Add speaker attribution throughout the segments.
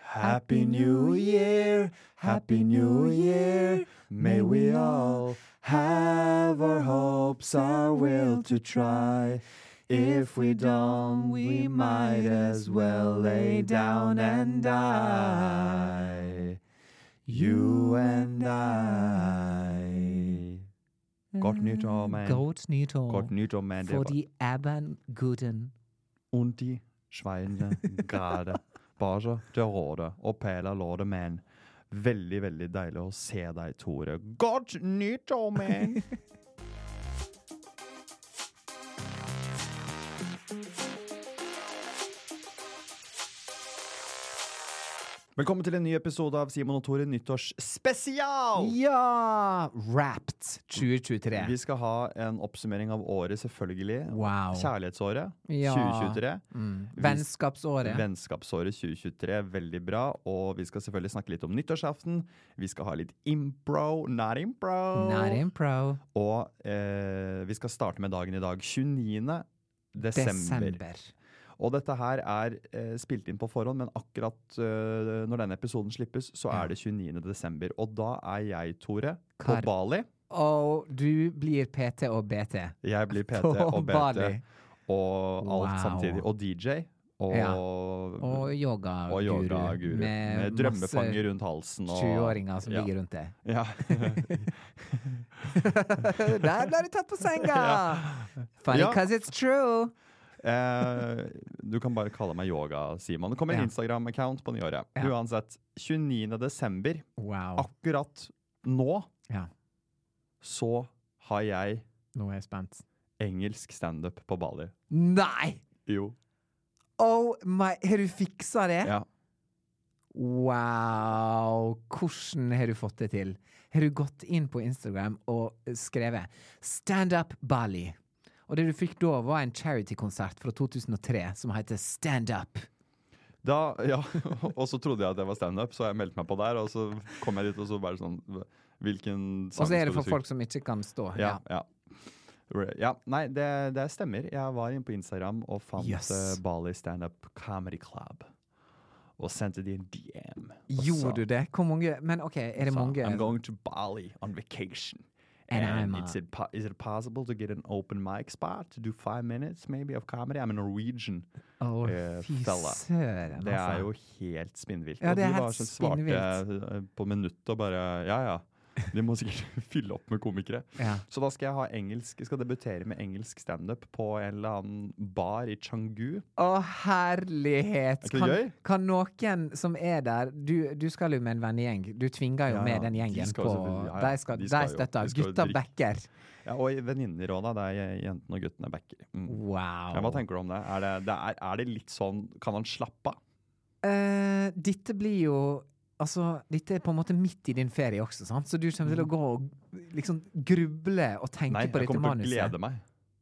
Speaker 1: Happy New Year, Happy New Year. May we all have our hopes, our will to try. If we don't, we might as well lay down and die. You and I. Godt nyttår, man.
Speaker 2: Godt nyttår.
Speaker 1: Godt nyttår, man. Det er
Speaker 2: For
Speaker 1: var-
Speaker 2: die Erben Guten.
Speaker 1: und die Schweine gerade. Bare til rådet og Pela låret, men veldig, veldig deilig å se deg, Tore. Godt nyttår, man! Velkommen til en ny episode av Simon og Tore nyttårsspesial!
Speaker 2: Ja! Wrapped 2023.
Speaker 1: Oh. Vi skal ha en oppsummering av året, selvfølgelig.
Speaker 2: Wow.
Speaker 1: Kjærlighetsåret
Speaker 2: Ja.
Speaker 1: 2023.
Speaker 2: Mm.
Speaker 1: Vi-
Speaker 2: Vennskapsåret.
Speaker 1: Vennskapsåret 2023, veldig bra. Og vi skal selvfølgelig snakke litt om nyttårsaften. Vi skal ha litt impro, not impro.
Speaker 2: Not in pro.
Speaker 1: Og eh, vi skal starte med dagen i dag, 29. Desember.
Speaker 2: Desember.
Speaker 1: Og dette her er eh, spilt inn på forhånd, men akkurat eh, når denne episoden slippes, så
Speaker 2: Ja.
Speaker 1: er det 29. desember. Og da er jeg, Tore, på
Speaker 2: Kar-
Speaker 1: Bali.
Speaker 2: Og du blir PT og BT.
Speaker 1: Jeg blir PT
Speaker 2: På
Speaker 1: og BT
Speaker 2: Bali.
Speaker 1: og alt
Speaker 2: Wow.
Speaker 1: samtidig. Og DJ. Og,
Speaker 2: Ja. Og yogaguru.
Speaker 1: og yogaguru. Med, med drømmefanger rundt halsen. og-
Speaker 2: 20-åringer som
Speaker 1: ja.
Speaker 2: ligger rundt deg.
Speaker 1: Ja.
Speaker 2: Der ble du tatt på senga! Funny
Speaker 1: Ja.
Speaker 2: cause it's true.
Speaker 1: eh, du kan bare kalle meg Yoga, Simon. Det kommer en
Speaker 2: Ja.
Speaker 1: Instagram-account på nyåret.
Speaker 2: Ja.
Speaker 1: Uansett, 29. desember, Ah.
Speaker 2: Wow.
Speaker 1: akkurat nå,
Speaker 2: Ja,
Speaker 1: så har jeg
Speaker 2: nå er jeg spent.
Speaker 1: engelsk standup på Bali.
Speaker 2: Nei!
Speaker 1: Jo.
Speaker 2: Oh my Har du fiksa det?
Speaker 1: Ja.
Speaker 2: Wow! Hvordan har du fått det til? Har du gått inn på Instagram og skrevet 'Stand Up Bali'? Og det du fikk da, var en charity-konsert fra 2003 som heter Stand Up.
Speaker 1: Da, ja. Og så trodde jeg at det var standup, så jeg meldte meg på der. Og så kom jeg dit, og så bare sånn Hvilken sang
Speaker 2: Og så er
Speaker 1: skal
Speaker 2: det for
Speaker 1: du synge?
Speaker 2: folk som ikke kan stå.
Speaker 1: Ja, ja. Re- ja. Nei, det, det stemmer. Jeg var inne på Instagram og fant
Speaker 2: Yes.
Speaker 1: eh, Bali Standup Comedy Club. Og sendte de en DM. og sa-
Speaker 2: Gjorde du det? Hvor mange Men OK, er det
Speaker 1: sa,
Speaker 2: mange
Speaker 1: altså- I'm going to Bali on vacation.
Speaker 2: And I'm,
Speaker 1: it's
Speaker 2: uh,
Speaker 1: it po- is it possible to get an open mic spot to do five minutes maybe of comedy? I'm a Norwegian.
Speaker 2: Å,
Speaker 1: eh,
Speaker 2: fy
Speaker 1: fella.
Speaker 2: søren,
Speaker 1: Det er jo
Speaker 2: altså.
Speaker 1: helt spinnvilt.
Speaker 2: Ja,
Speaker 1: og
Speaker 2: det er
Speaker 1: de
Speaker 2: helt
Speaker 1: var sånn svarte eh, på minuttet og bare Ja, ja. De må sikkert fylle opp med komikere.
Speaker 2: Ja.
Speaker 1: Så da skal jeg ha engelsk Jeg skal debutere med engelsk standup på en eller annen bar i Changu.
Speaker 2: Å, herlighet!
Speaker 1: Er ikke det
Speaker 2: Kan,
Speaker 1: gøy?
Speaker 2: kan noen som er der Du, du skal jo med en vennegjeng. Du tvinger jo
Speaker 1: Ja, ja,
Speaker 2: med den
Speaker 1: de
Speaker 2: gjengen
Speaker 1: skal
Speaker 2: på
Speaker 1: selvfølgelig- ja, ja,
Speaker 2: De skal,
Speaker 1: de
Speaker 2: de
Speaker 1: skal jo-
Speaker 2: støtter.
Speaker 1: de skal jo
Speaker 2: Gutta
Speaker 1: drikke.
Speaker 2: backer.
Speaker 1: Ja, og venninner òg, da. Det er je- jentene og guttene backer. Mm. Ja,
Speaker 2: Wow.
Speaker 1: hva tenker du om det? Er det, det er, er det litt sånn Kan han slappe av?
Speaker 2: Eh, dette blir jo Altså, dette er på en måte midt i din ferie også, sant? så du kommer til å gå og liksom gruble og tenke
Speaker 1: Nei,
Speaker 2: på
Speaker 1: jeg
Speaker 2: dette
Speaker 1: kommer til å
Speaker 2: manuset.
Speaker 1: glede meg.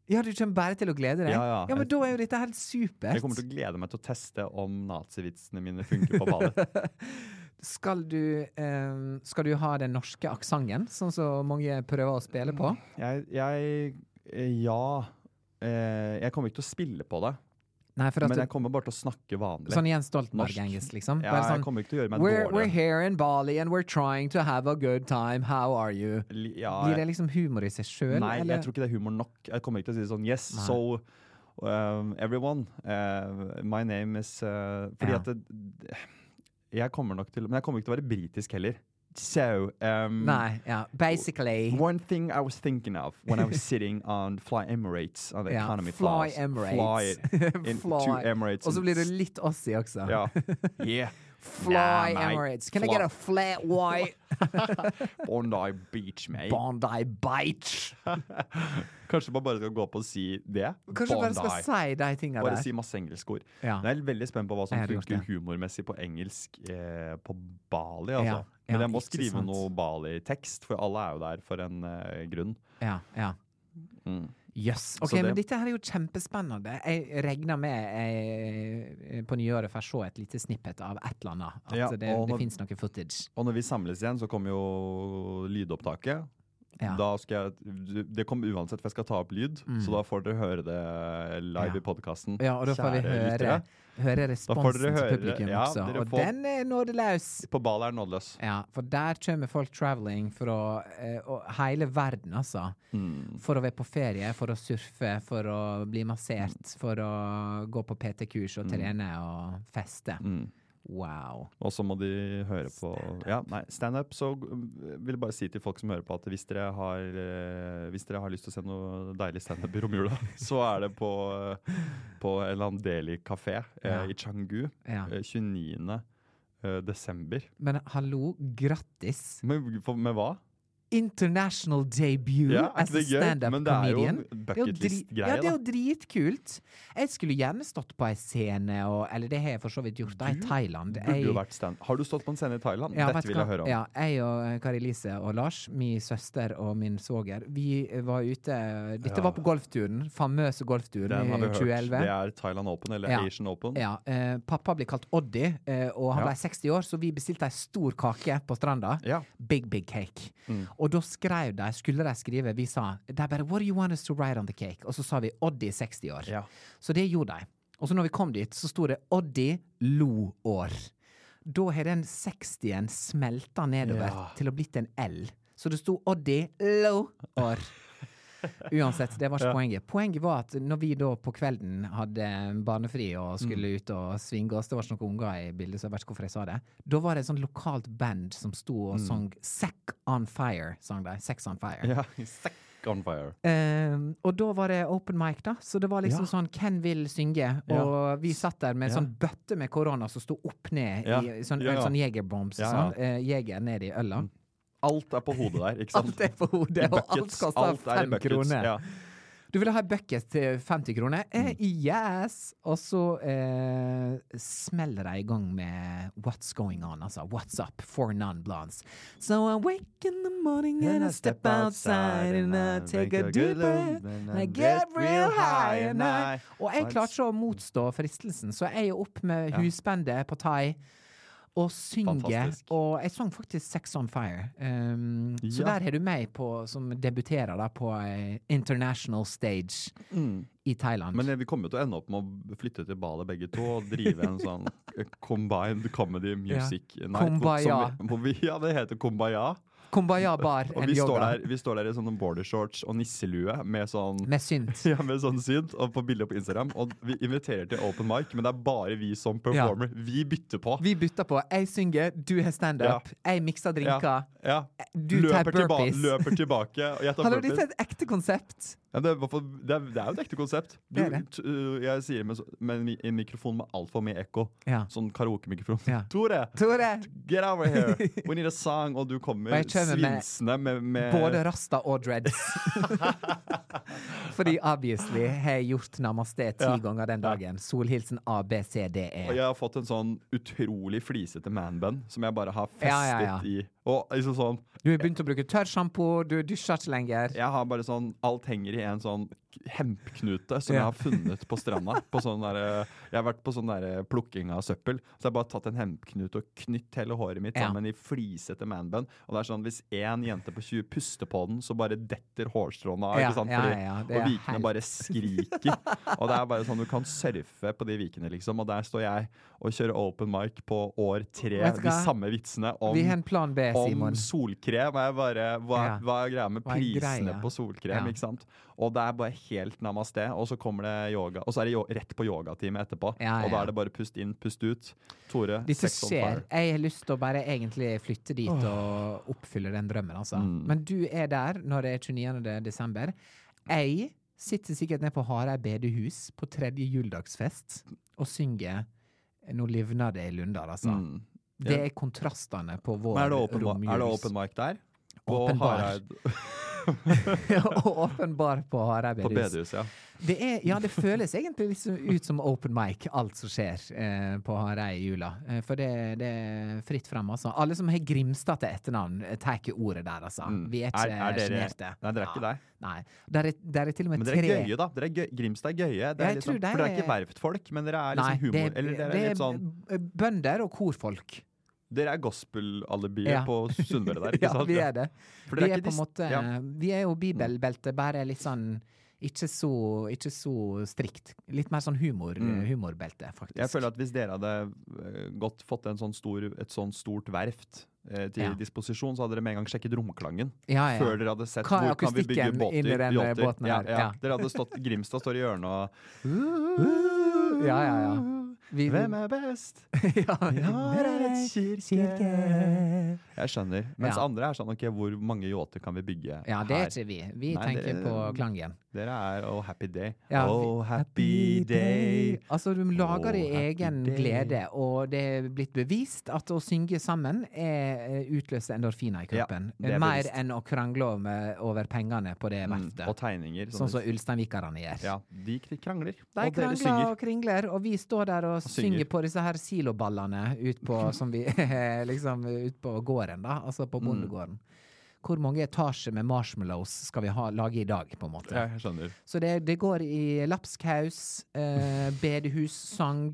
Speaker 2: Ja, du kommer bare til å glede deg?
Speaker 1: Ja, ja.
Speaker 2: men da er jo dette helt supert.
Speaker 1: Jeg kommer til å glede meg til å teste om nazivitsene mine funker på Bali.
Speaker 2: Skal du, eh, skal du ha den norske aksenten, sånn som mange prøver å spille
Speaker 1: Mm.
Speaker 2: på?
Speaker 1: Jeg, jeg eh, Ja. Eh, jeg kommer ikke til å spille på det,
Speaker 2: Nei, for at
Speaker 1: men
Speaker 2: du,
Speaker 1: jeg kommer bare til å snakke vanlig.
Speaker 2: Sånn Jens
Speaker 1: Norsk.
Speaker 2: Stoltenberg-engelsk, liksom.
Speaker 1: ja,
Speaker 2: Bare
Speaker 1: jeg
Speaker 2: sånn
Speaker 1: kommer ikke til å gjøre meg
Speaker 2: we're, we're
Speaker 1: dårlig.
Speaker 2: here in Bali and we're trying to have a good time. How are you?
Speaker 1: Li- Ja,
Speaker 2: Blir det liksom humor i seg sjøl?
Speaker 1: Nei, jeg tror ikke det er humor nok. Jeg kommer ikke til å si sånn Yes,
Speaker 2: Nei.
Speaker 1: so um, everyone, uh, my name is uh, Fordi
Speaker 2: Ja.
Speaker 1: at det, Jeg kommer nok til Men jeg kommer ikke til å være britisk heller. So, um,
Speaker 2: Nei, ja. Basically
Speaker 1: One thing I was thinking of when I was sitting on Fly Emirates on the
Speaker 2: ja,
Speaker 1: economy
Speaker 2: Fly
Speaker 1: class.
Speaker 2: Emirates.
Speaker 1: Fly it in to Emirates.
Speaker 2: Og så
Speaker 1: and
Speaker 2: blir det
Speaker 1: s-
Speaker 2: litt Aussie også.
Speaker 1: yeah. yeah.
Speaker 2: Fly
Speaker 1: Nah, mate.
Speaker 2: Emirates. Can I
Speaker 1: Fly-
Speaker 2: get a flat white
Speaker 1: Bondi Beach, mate.
Speaker 2: Bondi Beach?
Speaker 1: Kanskje man bare skal gå opp og si det?
Speaker 2: Kanskje du bare skal
Speaker 1: Bondi.
Speaker 2: si de tinga
Speaker 1: Bare
Speaker 2: der.
Speaker 1: si masse engelskord.
Speaker 2: Ja.
Speaker 1: Jeg er veldig spent på hva som
Speaker 2: Jeg hadde gjort
Speaker 1: funker
Speaker 2: det.
Speaker 1: humormessig på engelsk eh, på Bali.
Speaker 2: Ja,
Speaker 1: Altså.
Speaker 2: ja,
Speaker 1: Men jeg må
Speaker 2: ikke
Speaker 1: skrive
Speaker 2: sant.
Speaker 1: noe Bali-tekst, for alle er jo der for en eh, grunn.
Speaker 2: Ja, ja. Yes. Ok,
Speaker 1: Så det-
Speaker 2: men dette her er jo kjempespennende. Jeg regner med jeg, på nyåret får se et lite snippet av et eller annet. At
Speaker 1: Ja,
Speaker 2: det,
Speaker 1: og når-
Speaker 2: det fins noe footage.
Speaker 1: Og når vi samles igjen, så kommer jo lydopptaket.
Speaker 2: Ja. Mm.
Speaker 1: Da skal jeg, det kommer uansett, for jeg skal ta opp lyd, så da får dere høre det live
Speaker 2: Ja.
Speaker 1: i podkasten.
Speaker 2: Ja, og da får vi høre, høre responsen til
Speaker 1: høre-
Speaker 2: publikum
Speaker 1: ja,
Speaker 2: også.
Speaker 1: dere
Speaker 2: Og
Speaker 1: får-
Speaker 2: den er nådeløs!
Speaker 1: På Bali er det nådeløs.
Speaker 2: Ja, for der kommer folk traveling fra eh, og hele verden, altså.
Speaker 1: Mm.
Speaker 2: For å være på ferie, for å surfe, for å bli
Speaker 1: Mm.
Speaker 2: massert, for å gå på PT-kurs og trene og feste.
Speaker 1: Mm.
Speaker 2: Wow.
Speaker 1: Og så må de høre på ja, nei, standup. Så øh, vil jeg bare si til folk som hører på, at hvis dere har, øh, hvis dere har lyst til å se noe deilig standup i romjula, så er det på, øh, på en eller annen deli kafé eh,
Speaker 2: Ja.
Speaker 1: i Changu
Speaker 2: Ja.
Speaker 1: eh, 29. eh, desember.
Speaker 2: Men hallo, grattis!
Speaker 1: Men for, med hva?
Speaker 2: international debut
Speaker 1: Ja, er
Speaker 2: as
Speaker 1: ikke
Speaker 2: a
Speaker 1: det gøy? Men det er jo
Speaker 2: standup-comedian.
Speaker 1: en
Speaker 2: altså, Det er jo
Speaker 1: bucket
Speaker 2: dri-
Speaker 1: list-greie,
Speaker 2: Ja, det er
Speaker 1: da.
Speaker 2: jo dritkult. Jeg skulle gjerne stått på ei scene, og, eller det har jeg for så vidt gjort, da, i
Speaker 1: Du
Speaker 2: Thailand.
Speaker 1: Burde
Speaker 2: Jeg-
Speaker 1: jo vært stand har du stått på en scene i Thailand?
Speaker 2: Ja, vet
Speaker 1: Dette
Speaker 2: du
Speaker 1: vil jeg
Speaker 2: hva?
Speaker 1: høre om.
Speaker 2: Ja, jeg og eh, Kari Lise og Lars, min søster og min svoger, vi var ute Dette
Speaker 1: Ja.
Speaker 2: var på golfturen. Famøse golfturen
Speaker 1: Den
Speaker 2: i
Speaker 1: har vi hørt.
Speaker 2: 2011.
Speaker 1: Det er Thailand Open eller
Speaker 2: Ja.
Speaker 1: Asian Open.
Speaker 2: Ja, eh, pappa blir kalt Oddi, eh, og han
Speaker 1: Ja.
Speaker 2: ble 60 år, så vi bestilte ei stor kake på stranda.
Speaker 1: Ja. Mm.
Speaker 2: Big, big cake. Og da skrev de, skulle de skrive, vi sa De bare What do you want us to write on the cake? Og så sa vi Oddi 60 år.
Speaker 1: Ja.
Speaker 2: Så det gjorde de. Og så når vi kom dit, så sto det Oddi lo år. Da har den 60-en smelta nedover
Speaker 1: Ja.
Speaker 2: til å blitt en L. Så det sto Oddi lo år. Uansett, det var ikke poenget. Poenget var at når vi da på kvelden hadde barnefri og
Speaker 1: Mm.
Speaker 2: skulle ut og svinge oss, det var ikke noen unger i bildet, så jeg vet ikke hvorfor jeg sa det, da var det et sånt lokalt band som sto og sang Sack on Fire, sang de. Sex on Fire.
Speaker 1: Mm. Ja. Sack on fire.
Speaker 2: Ehm, og da var det open mic, da. Så det var liksom
Speaker 1: Ja.
Speaker 2: sånn Hvem vil synge?
Speaker 1: Ja.
Speaker 2: Og vi satt der med en
Speaker 1: Ja.
Speaker 2: sånn bøtte med korona som sto opp ned
Speaker 1: Ja.
Speaker 2: i sånn,
Speaker 1: Ja, ja.
Speaker 2: sånn jegerbombs.
Speaker 1: Ja, ja.
Speaker 2: Sånn, eh, jeger ned i øla.
Speaker 1: Alt er på hodet der, ikke sant?
Speaker 2: Alt er på hodet,
Speaker 1: I
Speaker 2: og alt
Speaker 1: buckets.
Speaker 2: koster
Speaker 1: Alt er i
Speaker 2: fem
Speaker 1: buckets,
Speaker 2: kroner.
Speaker 1: Ja.
Speaker 2: Du ville ha en bucket til 50 kroner? Eh, yes! Og så eh, smeller de i gang med What's Going On, altså. What's Up for Non-Blondes. So I wake in the morning and I step outside and I take a deep breath and I get real high and I Og jeg klarte ikke å motstå fristelsen, så jeg er jo opp med husbandet på thai. Og synger.
Speaker 1: Fantastisk.
Speaker 2: Og jeg sang faktisk Sex on Fire. Um, Så
Speaker 1: Ja.
Speaker 2: der har du meg på, som debuterer da på ei international stage i Thailand.
Speaker 1: Men eh, vi kommer jo til å ende opp med å flytte til Bali begge to og drive en sånn eh, combined comedy music
Speaker 2: Ja.
Speaker 1: night. hvor-
Speaker 2: Kumbaya.
Speaker 1: Som, hvor vi, ja, det heter Kumbaya.
Speaker 2: Kumbaya bar
Speaker 1: Og
Speaker 2: and
Speaker 1: vi står,
Speaker 2: yoga.
Speaker 1: der, vi står der i sånne bordershorts og nisselue med sånn
Speaker 2: Med synt.
Speaker 1: ja, med sånn synt, og på bilder på Instagram. Og vi inviterer til open mic, men det er bare vi som performer. Vi bytter på.
Speaker 2: Vi bytter på. Jeg synger, du har standup. Jeg mikser
Speaker 1: Ja,
Speaker 2: drinker.
Speaker 1: ja.
Speaker 2: Du tar
Speaker 1: Løper, tilba
Speaker 2: burpees.
Speaker 1: løper tilbake. Og jeg tar
Speaker 2: Hallo,
Speaker 1: burpees.
Speaker 2: dette er et ekte konsept.
Speaker 1: Ja, det, er, i hvert fall- det, er, det er jo et ekte konsept. Du,
Speaker 2: Det er det.
Speaker 1: t- øh, jeg sier med, så- med en mi- en mikrofon med altfor mye ekko.
Speaker 2: Ja.
Speaker 1: Sånn karaokemikrofon.
Speaker 2: Ja.
Speaker 1: Tore!
Speaker 2: Tore,
Speaker 1: Get over here! We need a song! Og du kommer
Speaker 2: Og jeg kommer med
Speaker 1: svinsende med, med
Speaker 2: både rasta og dreads. Fordi obviously har jeg gjort namaste ti
Speaker 1: Ja.
Speaker 2: ganger den dagen. Solhilsen
Speaker 1: Og
Speaker 2: ABCDE.
Speaker 1: jeg har fått en sånn utrolig flisete manbun som jeg bare har festet
Speaker 2: Ja, ja, ja.
Speaker 1: i. Og liksom sånn
Speaker 2: Du har begynt å bruke tørr sjampo, du dusjer ikke lenger.
Speaker 1: Jeg har bare sånn Alt henger i en sånn hempknute som jeg
Speaker 2: Ja.
Speaker 1: har funnet på stranda. På sånn der, jeg har vært på sånn der plukking av søppel. Så jeg har bare tatt en hempknute og knytt hele håret mitt
Speaker 2: Ja.
Speaker 1: sammen i flisete manbun. Og det er sånn hvis én jente på 20 puster på den, så bare detter hårstråene av.
Speaker 2: Ja,
Speaker 1: ikke sant?
Speaker 2: ja,
Speaker 1: Fordi,
Speaker 2: ja, det er
Speaker 1: og vikene
Speaker 2: helt-
Speaker 1: bare skriker. og det er bare sånn du kan surfe på de vikene, liksom. Og der står jeg og kjører open mic på år tre,
Speaker 2: Vet du
Speaker 1: de
Speaker 2: hva?
Speaker 1: samme vitsene om
Speaker 2: Vi har en plan B,
Speaker 1: om
Speaker 2: Simon.
Speaker 1: solkrem. og Jeg bare, hva,
Speaker 2: Ja.
Speaker 1: hva er greia med
Speaker 2: Hva er
Speaker 1: prisene
Speaker 2: greia?
Speaker 1: på solkrem?
Speaker 2: Ja.
Speaker 1: ikke sant? Og det er bare helt namaste, og så kommer det yoga. Og så er det yo rett på yogatime etterpå.
Speaker 2: Ja, ja,
Speaker 1: Og da
Speaker 2: ja.
Speaker 1: er det bare pust inn, pust ut. Tore,
Speaker 2: Dette
Speaker 1: sex on
Speaker 2: skjer.
Speaker 1: fire.
Speaker 2: Jeg har lyst til å bare egentlig flytte dit og oppfylle den drømmen, altså.
Speaker 1: Mm.
Speaker 2: Men du er der når det er 29. desember. Jeg sitter sikkert nede på Hareid bedehus på tredje juledagsfest og synger 'Nå livner det i Lundar', altså.
Speaker 1: Mm.
Speaker 2: Det er kontrastene på vår
Speaker 1: Men er det open,
Speaker 2: romjuls.
Speaker 1: er det open mic der? På
Speaker 2: Åpen bar.
Speaker 1: Hareid-
Speaker 2: og åpen bar på Hareid
Speaker 1: På
Speaker 2: bedehus.
Speaker 1: bedehuset, ja.
Speaker 2: Det er, ja, det føles egentlig liksom ut som open mic, alt som skjer eh, på Hareid i jula. Eh, for det, det er fritt fram, altså. Alle som har Grimstad til etternavn, eh, tar ikke ordet der, altså. Vi er ikke sjenerte.
Speaker 1: Nei, Mm. dere er ikke
Speaker 2: Ja.
Speaker 1: der.
Speaker 2: Nei. Der er, der er til og med
Speaker 1: Men
Speaker 2: tre
Speaker 1: dere er gøye, da. Dere er gøy, Grimstad er gøye. Det
Speaker 2: Jeg
Speaker 1: er litt
Speaker 2: tror
Speaker 1: sånn-
Speaker 2: det
Speaker 1: for dere er
Speaker 2: er-
Speaker 1: ikke verftfolk, men dere er liksom humor... eller dere er,
Speaker 2: det
Speaker 1: litt sånn
Speaker 2: b- bønder og korfolk.
Speaker 1: Dere er gospelalibiet
Speaker 2: Ja.
Speaker 1: på Sunnmøre der, ikke
Speaker 2: ja,
Speaker 1: sant?
Speaker 2: vi er det.
Speaker 1: For
Speaker 2: Vi
Speaker 1: dere
Speaker 2: er,
Speaker 1: ikke
Speaker 2: på en
Speaker 1: dist-
Speaker 2: måte,
Speaker 1: ja.
Speaker 2: vi er jo bibelbeltet, bare litt sånn ikke så, ikke så strikt. Litt mer sånn humor, humorbelte, faktisk.
Speaker 1: Mm. Jeg føler at hvis dere hadde eh, godt fått en sånn stor, et sånn stort verft eh, til
Speaker 2: Ja. Ah,
Speaker 1: disposisjon, så hadde dere med en gang sjekket romklangen.
Speaker 2: Ja, ja.
Speaker 1: Før dere hadde sett
Speaker 2: Hva er
Speaker 1: hvor kan vi bygge
Speaker 2: akustikken
Speaker 1: båter.
Speaker 2: inni den, eh,
Speaker 1: yachter.
Speaker 2: båten
Speaker 1: ja,
Speaker 2: her?
Speaker 1: ja.
Speaker 2: Ja.
Speaker 1: Dere hadde stått, Grimstad står i hjørnet og
Speaker 2: Ja, ja, ja. Vi,
Speaker 1: Hvem er best?
Speaker 2: ja,
Speaker 1: Her er et kirke.
Speaker 2: kirke.
Speaker 1: Jeg skjønner. Mens
Speaker 2: Ja.
Speaker 1: andre er sånn ok, hvor mange yachter kan vi bygge
Speaker 2: Ja, det er
Speaker 1: her?
Speaker 2: ikke vi. Vi
Speaker 1: Nei,
Speaker 2: tenker
Speaker 1: det-
Speaker 2: på klangen.
Speaker 1: Dere er Oh Happy Day.
Speaker 2: Ja, vi-
Speaker 1: oh Happy Day.
Speaker 2: Altså, du lager
Speaker 1: Oh,
Speaker 2: din
Speaker 1: happy
Speaker 2: egen
Speaker 1: day.
Speaker 2: glede, og det er blitt bevist at å synge sammen er eh, utløser endorfiner i
Speaker 1: Ja,
Speaker 2: kroppen.
Speaker 1: det er
Speaker 2: Mer
Speaker 1: bevist.
Speaker 2: enn å krangle over, over pengene på det
Speaker 1: Mm,
Speaker 2: verftet.
Speaker 1: og tegninger.
Speaker 2: Sånn som
Speaker 1: sånne-
Speaker 2: Ulsteinvikarane gjør.
Speaker 1: ja, de k- krangler.
Speaker 2: De
Speaker 1: og dere
Speaker 2: krangler
Speaker 1: synger.
Speaker 2: og kringler, og vi står der og
Speaker 1: synger.
Speaker 2: synger på disse her siloballene ut på, som vi, liksom, ut på gården, da. Altså
Speaker 1: Mm.
Speaker 2: på bondegården. Hvor mange etasjer med marshmallows skal vi ha, lage i dag, på en måte?
Speaker 1: Ja, jeg skjønner.
Speaker 2: Så det, det går i lapskaus, eh, bedehussang,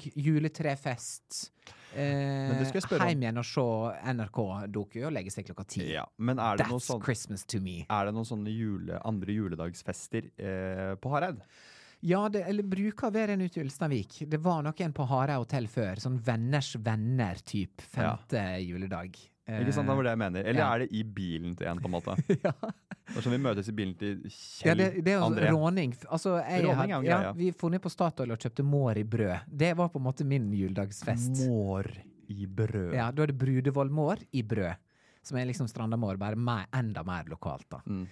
Speaker 2: juletrefest.
Speaker 1: Men
Speaker 2: Eh,
Speaker 1: det skal jeg spørre om.
Speaker 2: Heim igjen og se NRK-doku og legge seg klokka ti.
Speaker 1: Ja, men er det, noe
Speaker 2: That's
Speaker 1: sånn,
Speaker 2: Christmas to me.
Speaker 1: er det noen sånne jule, andre juledagsfester eh, på Hareid?
Speaker 2: Ja, det, eller bruker å være en ute i Ulsteinvik. Det var noen på Hareid hotell før. Sånn venners venner type femte juledag. Eh,
Speaker 1: Ikke sant, det var det jeg mener. Eller
Speaker 2: ja.
Speaker 1: er det i bilen til en, på en måte?
Speaker 2: ja.
Speaker 1: Det er sånn vi møtes i bilen til
Speaker 2: ja,
Speaker 1: Kjell
Speaker 2: det, det er jo
Speaker 1: André.
Speaker 2: råning. F- Altså, jeg,
Speaker 1: Råning
Speaker 2: had-
Speaker 1: er jo en
Speaker 2: ja,
Speaker 1: greie.
Speaker 2: vi funnet på Statoil og kjøpte Måribrød. Det var på en måte min juledagsfest.
Speaker 1: Mår i brød.
Speaker 2: Ja, da er det Brudevollmår i brød. Som er liksom Strandamår, bare mer, enda mer lokalt, da.
Speaker 1: Mm.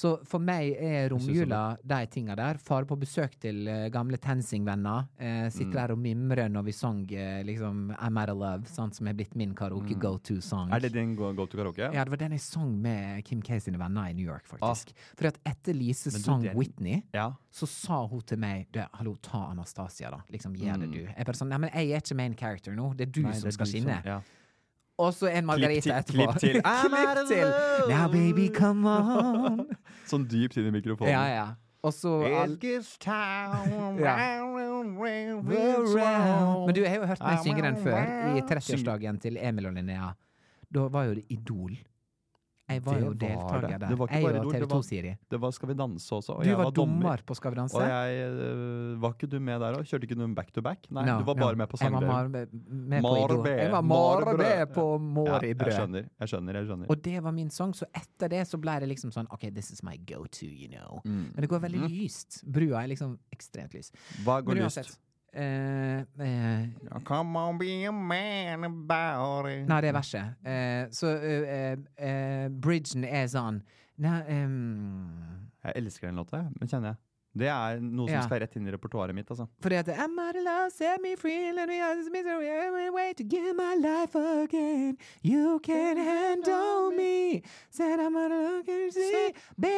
Speaker 2: Så for meg er romjula de tinga der. Fare på besøk til eh, gamle TenSing-venner. Eh,
Speaker 1: Mm.
Speaker 2: sitte der og mimre når vi sang eh, liksom I'm Out of Love, sant, som er blitt min karaoke go to-sang.
Speaker 1: Mm. Er det din go, go to karaoke?
Speaker 2: Ja, det var den jeg sang med Kim K sine venner i New York, faktisk. Fordi at etter Lise
Speaker 1: Ah. Men du,
Speaker 2: sang
Speaker 1: den-
Speaker 2: Whitney
Speaker 1: Ja.
Speaker 2: så sa hun til meg du, 'Hallo, ta Anastasia, da'. Liksom, gjør det, du. Jeg bare sånn 'Nei, men jeg er ikke main character nå. Det sånn- er du
Speaker 1: Mm. Nei,
Speaker 2: som
Speaker 1: det er
Speaker 2: skal
Speaker 1: du
Speaker 2: skinne'.
Speaker 1: ja.
Speaker 2: Og så en margarita
Speaker 1: til-
Speaker 2: etterpå.
Speaker 1: klipp til. I'm out of love.
Speaker 2: Now baby, come on.
Speaker 1: Sånn dypt inn i mikrofonen.
Speaker 2: ja, ja. Og så all-
Speaker 1: gets time
Speaker 2: Ja. Men
Speaker 1: Men
Speaker 2: du jeg har jo hørt meg synge den før, i 30-årsdagen til Emil og Linnea. Da var jo det Idol. Jeg var
Speaker 1: Det
Speaker 2: jo
Speaker 1: var det.
Speaker 2: deltaker
Speaker 1: Det var
Speaker 2: der.
Speaker 1: ikke
Speaker 2: Jeg
Speaker 1: bare
Speaker 2: og
Speaker 1: Idol, det
Speaker 2: TV
Speaker 1: var-
Speaker 2: 2-Siri.
Speaker 1: Det var Skal vi danse også, og
Speaker 2: Du
Speaker 1: jeg
Speaker 2: var
Speaker 1: var dommer.
Speaker 2: dommer på Skal vi danse.
Speaker 1: Og jeg øh, Var ikke du med der òg? Kjørte ikke du back to back? Nei,
Speaker 2: No,
Speaker 1: du var bare
Speaker 2: no.
Speaker 1: med på
Speaker 2: Jeg var
Speaker 1: sangdelen.
Speaker 2: mar- med på
Speaker 1: Marbe.
Speaker 2: Idol. Jeg var marbe
Speaker 1: Marbe.
Speaker 2: på
Speaker 1: jeg
Speaker 2: Måribrød.
Speaker 1: skjønner, jeg skjønner. jeg skjønner
Speaker 2: Og det var min sang, så etter det så ble det liksom sånn OK, this is my go to, you know.
Speaker 1: Mm.
Speaker 2: Men det går veldig lyst. Brua er liksom ekstremt lys.
Speaker 1: Hva Mhm. går
Speaker 2: Men
Speaker 1: lyst?
Speaker 2: uansett. eh, eh,
Speaker 1: Come on, be a man about it.
Speaker 2: nei, det er verset. Eh, så eh, eh, eh, bridgen er sånn Nei ehm,
Speaker 1: Jeg elsker den låta, jeg, men kjenner jeg. Det er noe som
Speaker 2: Ja.
Speaker 1: skal rett inn i repertoaret mitt, altså.
Speaker 2: Fordi at I'm out of love, set me free, let me out of this misery, I'm on my way to get my life again. You can handle me. Said I'm out of love, can you see? Baby,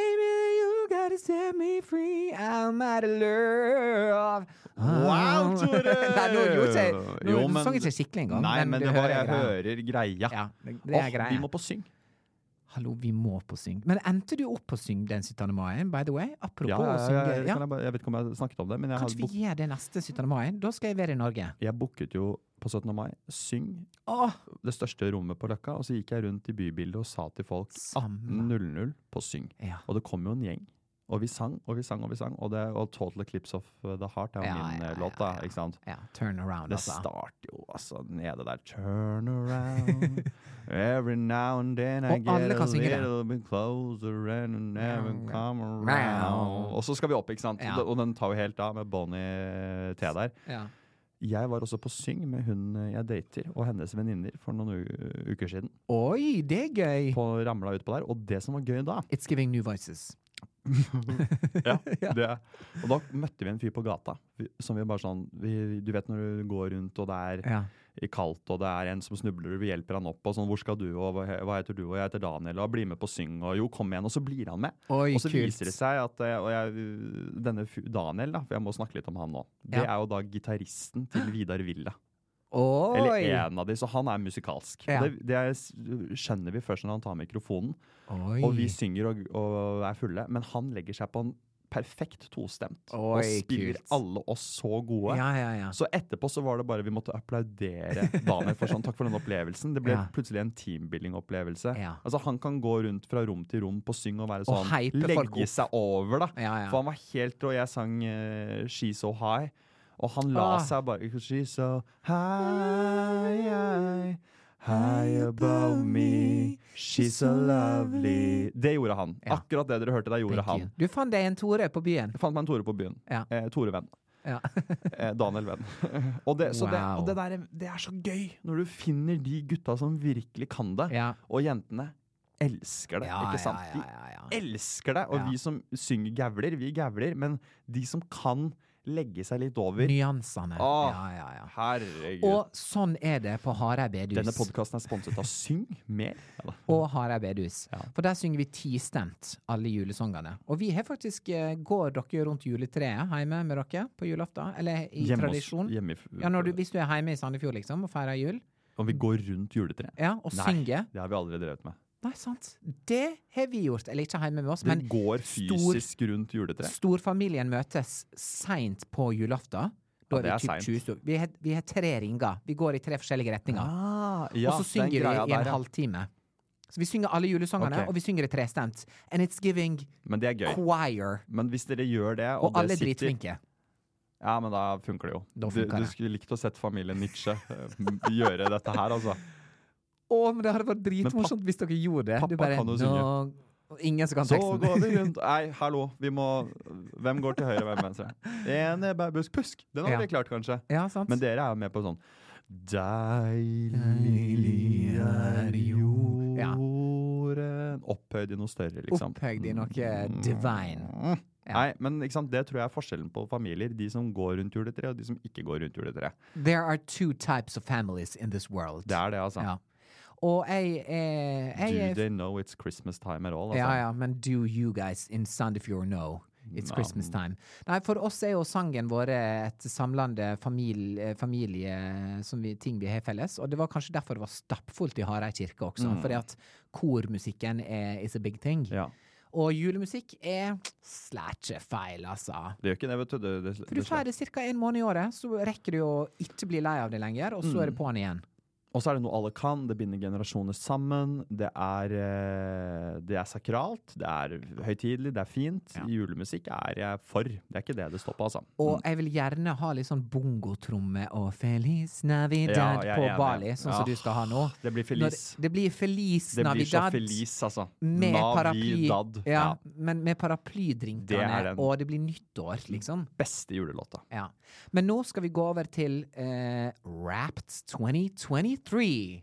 Speaker 2: you gotta set me free. I'm out of love.
Speaker 1: Wow, Tore!
Speaker 2: Ah. Nei, nå gjorde jeg nå,
Speaker 1: Jo,
Speaker 2: Du
Speaker 1: men-
Speaker 2: sang ikke skikkelig engang.
Speaker 1: Nei, men
Speaker 2: du
Speaker 1: det var, jeg
Speaker 2: greia.
Speaker 1: hører greia.
Speaker 2: Ja, det, det er
Speaker 1: Åh,
Speaker 2: greia.
Speaker 1: Vi må på syng.
Speaker 2: Hallo, vi må på syng. Men endte du opp på syng den 17. mai, by the way? Apropos
Speaker 1: Ja, ja,
Speaker 2: å
Speaker 1: ja,
Speaker 2: synge.
Speaker 1: jeg,
Speaker 2: Ja,
Speaker 1: kan jeg, bare, jeg vet ikke om jeg har snakket om det, men jeg, har
Speaker 2: Kanskje vi
Speaker 1: book-
Speaker 2: gjør det neste 17. mai? Da skal jeg være i Norge.
Speaker 1: jeg booket jo på 17. mai Syng
Speaker 2: Åh,
Speaker 1: det største rommet på Løkka, og så gikk jeg rundt i bybildet og sa til folk
Speaker 2: Samme.
Speaker 1: 18.00 på Syng.
Speaker 2: Ja.
Speaker 1: Og det kom jo en gjeng Og vi sang og vi sang og vi sang. Og, det, og 'Total Eclipse of the Heart' er jo
Speaker 2: Ja,
Speaker 1: min
Speaker 2: ja,
Speaker 1: eh,
Speaker 2: ja,
Speaker 1: låt, da.
Speaker 2: ja.
Speaker 1: Ikke sant?
Speaker 2: Ja, turn around,
Speaker 1: Det
Speaker 2: altså.
Speaker 1: starter jo altså nede der. Turn around. Every now and then I
Speaker 2: Og
Speaker 1: get a
Speaker 2: alle kan synge det.
Speaker 1: little bit closer and I never
Speaker 2: Meow.
Speaker 1: come around. Og så skal vi opp, ikke sant?
Speaker 2: Ja.
Speaker 1: Og den tar jo helt av med Bonnie T der.
Speaker 2: Ja.
Speaker 1: Jeg var også på syng med hun eh, jeg dater, og hennes venninner for noen u uker siden.
Speaker 2: Oi, det er gøy!
Speaker 1: På ramla utpå der. Og det som var gøy da
Speaker 2: It's giving new voices.
Speaker 1: ja, det. Og da møtte vi en fyr på gata vi- som vi bare sånn vi, Du vet når du går rundt, og det er
Speaker 2: Ja.
Speaker 1: i kaldt, og det er en som snubler, og vi hjelper han opp, og sånn 'Hvor skal du, og hva, he- hva heter du, og jeg heter Daniel', og 'Bli med på syng', og 'Jo, kom igjen', og så blir han med.
Speaker 2: Oi,
Speaker 1: og så
Speaker 2: kult.
Speaker 1: viser det seg at eh, og jeg, denne fyr- Daniel, da, for jeg må snakke litt om han nå, det
Speaker 2: Ja.
Speaker 1: er jo da gitaristen til Vidar Villa.
Speaker 2: Oi!
Speaker 1: Eller en av de, så han er musikalsk.
Speaker 2: Ja.
Speaker 1: Det, det er- skjønner vi først når han tar mikrofonen.
Speaker 2: Oi.
Speaker 1: Og vi synger og, og er fulle, men han legger seg på en perfekt tostemt og
Speaker 2: Oi,
Speaker 1: spiller
Speaker 2: kult.
Speaker 1: alle oss så gode.
Speaker 2: Ja, ja, ja.
Speaker 1: Så etterpå så var det bare vi måtte applaudere Daniel for sånn, takk for den opplevelsen. Det ble
Speaker 2: Ja.
Speaker 1: plutselig en teambuilding-opplevelse.
Speaker 2: Ja.
Speaker 1: Altså Han kan gå rundt fra rom til rom på syng og være
Speaker 2: Og
Speaker 1: sånn
Speaker 2: hype folk opp.
Speaker 1: Legge seg over, da.
Speaker 2: Ja, ja.
Speaker 1: For han var helt Og jeg sang eh, She's So High. Og han la
Speaker 2: Ah.
Speaker 1: seg bare She's so high, high, high above me. She's so lovely. Det gjorde han.
Speaker 2: Ja.
Speaker 1: Akkurat det dere hørte der, gjorde
Speaker 2: Thank
Speaker 1: han.
Speaker 2: you. Du fant deg en Tore på byen.
Speaker 1: Jeg fant meg en Tore på byen.
Speaker 2: Ja.
Speaker 1: Eh, Tore-venn.
Speaker 2: Ja.
Speaker 1: Eh, Daniel Venn. og det, så det, og det,
Speaker 2: Wow.
Speaker 1: der, det er så gøy når du finner de gutta som virkelig kan det.
Speaker 2: Ja.
Speaker 1: Og jentene elsker det,
Speaker 2: Ja,
Speaker 1: ikke sant?
Speaker 2: ja, ja, ja, ja.
Speaker 1: De elsker det. Og
Speaker 2: Ja.
Speaker 1: vi som synger gavler, vi gavler. Men de som kan legge seg litt over
Speaker 2: Nyansene.
Speaker 1: Åh,
Speaker 2: Ja, ja, ja.
Speaker 1: Herregud.
Speaker 2: Og sånn er det på Hareid bedehus.
Speaker 1: Denne podkasten er sponset av Syng mer. Ja, da.
Speaker 2: og Hareid bedehus. For der synger vi tistemt, alle julesongene. Og vi har faktisk eh, Går dere rundt juletreet hjemme med dere på julaften? Eller i
Speaker 1: Hjemme hos-
Speaker 2: tradisjon?
Speaker 1: hjemme i-
Speaker 2: ja, når du, hvis du er hjemme i Sandefjord, liksom, og feirer jul,
Speaker 1: Og vi går rundt juletreet.
Speaker 2: ja, og
Speaker 1: Nei,
Speaker 2: synger
Speaker 1: det har vi aldri drevet med.
Speaker 2: Nei, sant. Det har vi gjort. Eller ikke hjemme med oss,
Speaker 1: Vi
Speaker 2: men
Speaker 1: går
Speaker 2: stor-
Speaker 1: fysisk rundt juletreet.
Speaker 2: Storfamilien møtes seint på julaften. Da
Speaker 1: Ja,
Speaker 2: er
Speaker 1: det
Speaker 2: vi
Speaker 1: er
Speaker 2: typ 20 stykker. Vi har- Vi har tre ringer. Vi går i tre forskjellige retninger.
Speaker 1: Ah,
Speaker 2: og så synger vi i en halvtime. Så vi synger alle julesangene,
Speaker 1: Ok.
Speaker 2: og vi synger det trestemt. And it's giving
Speaker 1: Men det er gøy.
Speaker 2: choir.
Speaker 1: Men hvis dere gjør det, og,
Speaker 2: Og alle
Speaker 1: det
Speaker 2: er
Speaker 1: sitter
Speaker 2: dritflinke.
Speaker 1: Ja, men da funker det jo.
Speaker 2: Da
Speaker 1: du, du
Speaker 2: funker det.
Speaker 1: skulle likt å sett familien Nietzsche eh, gjøre dette her, altså.
Speaker 2: Å, men det hadde vært
Speaker 1: Men
Speaker 2: dritmorsomt hvis dere gjorde det.
Speaker 1: pappa
Speaker 2: Du bare,
Speaker 1: kan jo synge.
Speaker 2: «Nå-» og Ingen som kan
Speaker 1: Så
Speaker 2: teksten.
Speaker 1: går vi rundt Nei, hallo. Vi må Hvem går til høyre, hvem venstre? Enebærbusk Pusk! Den hadde
Speaker 2: Ja.
Speaker 1: vi klart, kanskje.
Speaker 2: Ja, sant?
Speaker 1: Men dere er jo med på sånn Deilig er
Speaker 2: Ja.
Speaker 1: jorden Opphøyd i noe større, liksom.
Speaker 2: Opphøyd i noe divine.
Speaker 1: Mm.
Speaker 2: Ja.
Speaker 1: Nei, men ikke sant? det tror jeg er forskjellen på familier. De som går rundt juletreet, og de som ikke går rundt juletreet.
Speaker 2: There are two types of families in this world.
Speaker 1: Det er det, altså.
Speaker 2: Ja. Og jeg, eh, jeg
Speaker 1: Do
Speaker 2: er
Speaker 1: they know it's Christmas time at all? Altså?
Speaker 2: Ja, ja, men do you guys in Sandefjord know? It's Christmas time. Nei, for oss er jo sangen vår et samlende familie, familie som vi, ting vi har felles, og det var kanskje derfor det var stappfullt i Hareid kirke også, fordi at kormusikken er, is a big thing.
Speaker 1: Mm. Ja.
Speaker 2: Og julemusikk er slætsje feil, altså.
Speaker 1: Det gjør ikke det, vet du. Det, det,
Speaker 2: For du
Speaker 1: det slår.
Speaker 2: feirer ca. en måned i året, så rekker du jo ikke bli lei av det lenger, og så
Speaker 1: Mm.
Speaker 2: er det på'n igjen.
Speaker 1: Og så er det noe alle kan. Det binder generasjoner sammen. Det er, eh, det er sakralt, det er høytidelig, det er fint. Julemusikk er jeg for. Det er ikke det det står på, altså.
Speaker 2: Og jeg vil gjerne ha litt sånn bongotromme og Feliz Navidad
Speaker 1: jeg er
Speaker 2: på
Speaker 1: enig.
Speaker 2: Bali, sånn som
Speaker 1: Ja,
Speaker 2: du skal ha nå.
Speaker 1: Mm. Det blir
Speaker 2: Når-
Speaker 1: feliz.
Speaker 2: Det blir Feliz
Speaker 1: Det blir så
Speaker 2: Navidad.
Speaker 1: feliz, altså.
Speaker 2: Med paraply, ja,
Speaker 1: Navidad. Ja.
Speaker 2: Men med
Speaker 1: Det er
Speaker 2: paraplydrinkene,
Speaker 1: den.
Speaker 2: og det blir nyttår, liksom.
Speaker 1: Beste julelåta.
Speaker 2: Ja. Men nå skal vi gå over til eh, Wrapped 2023.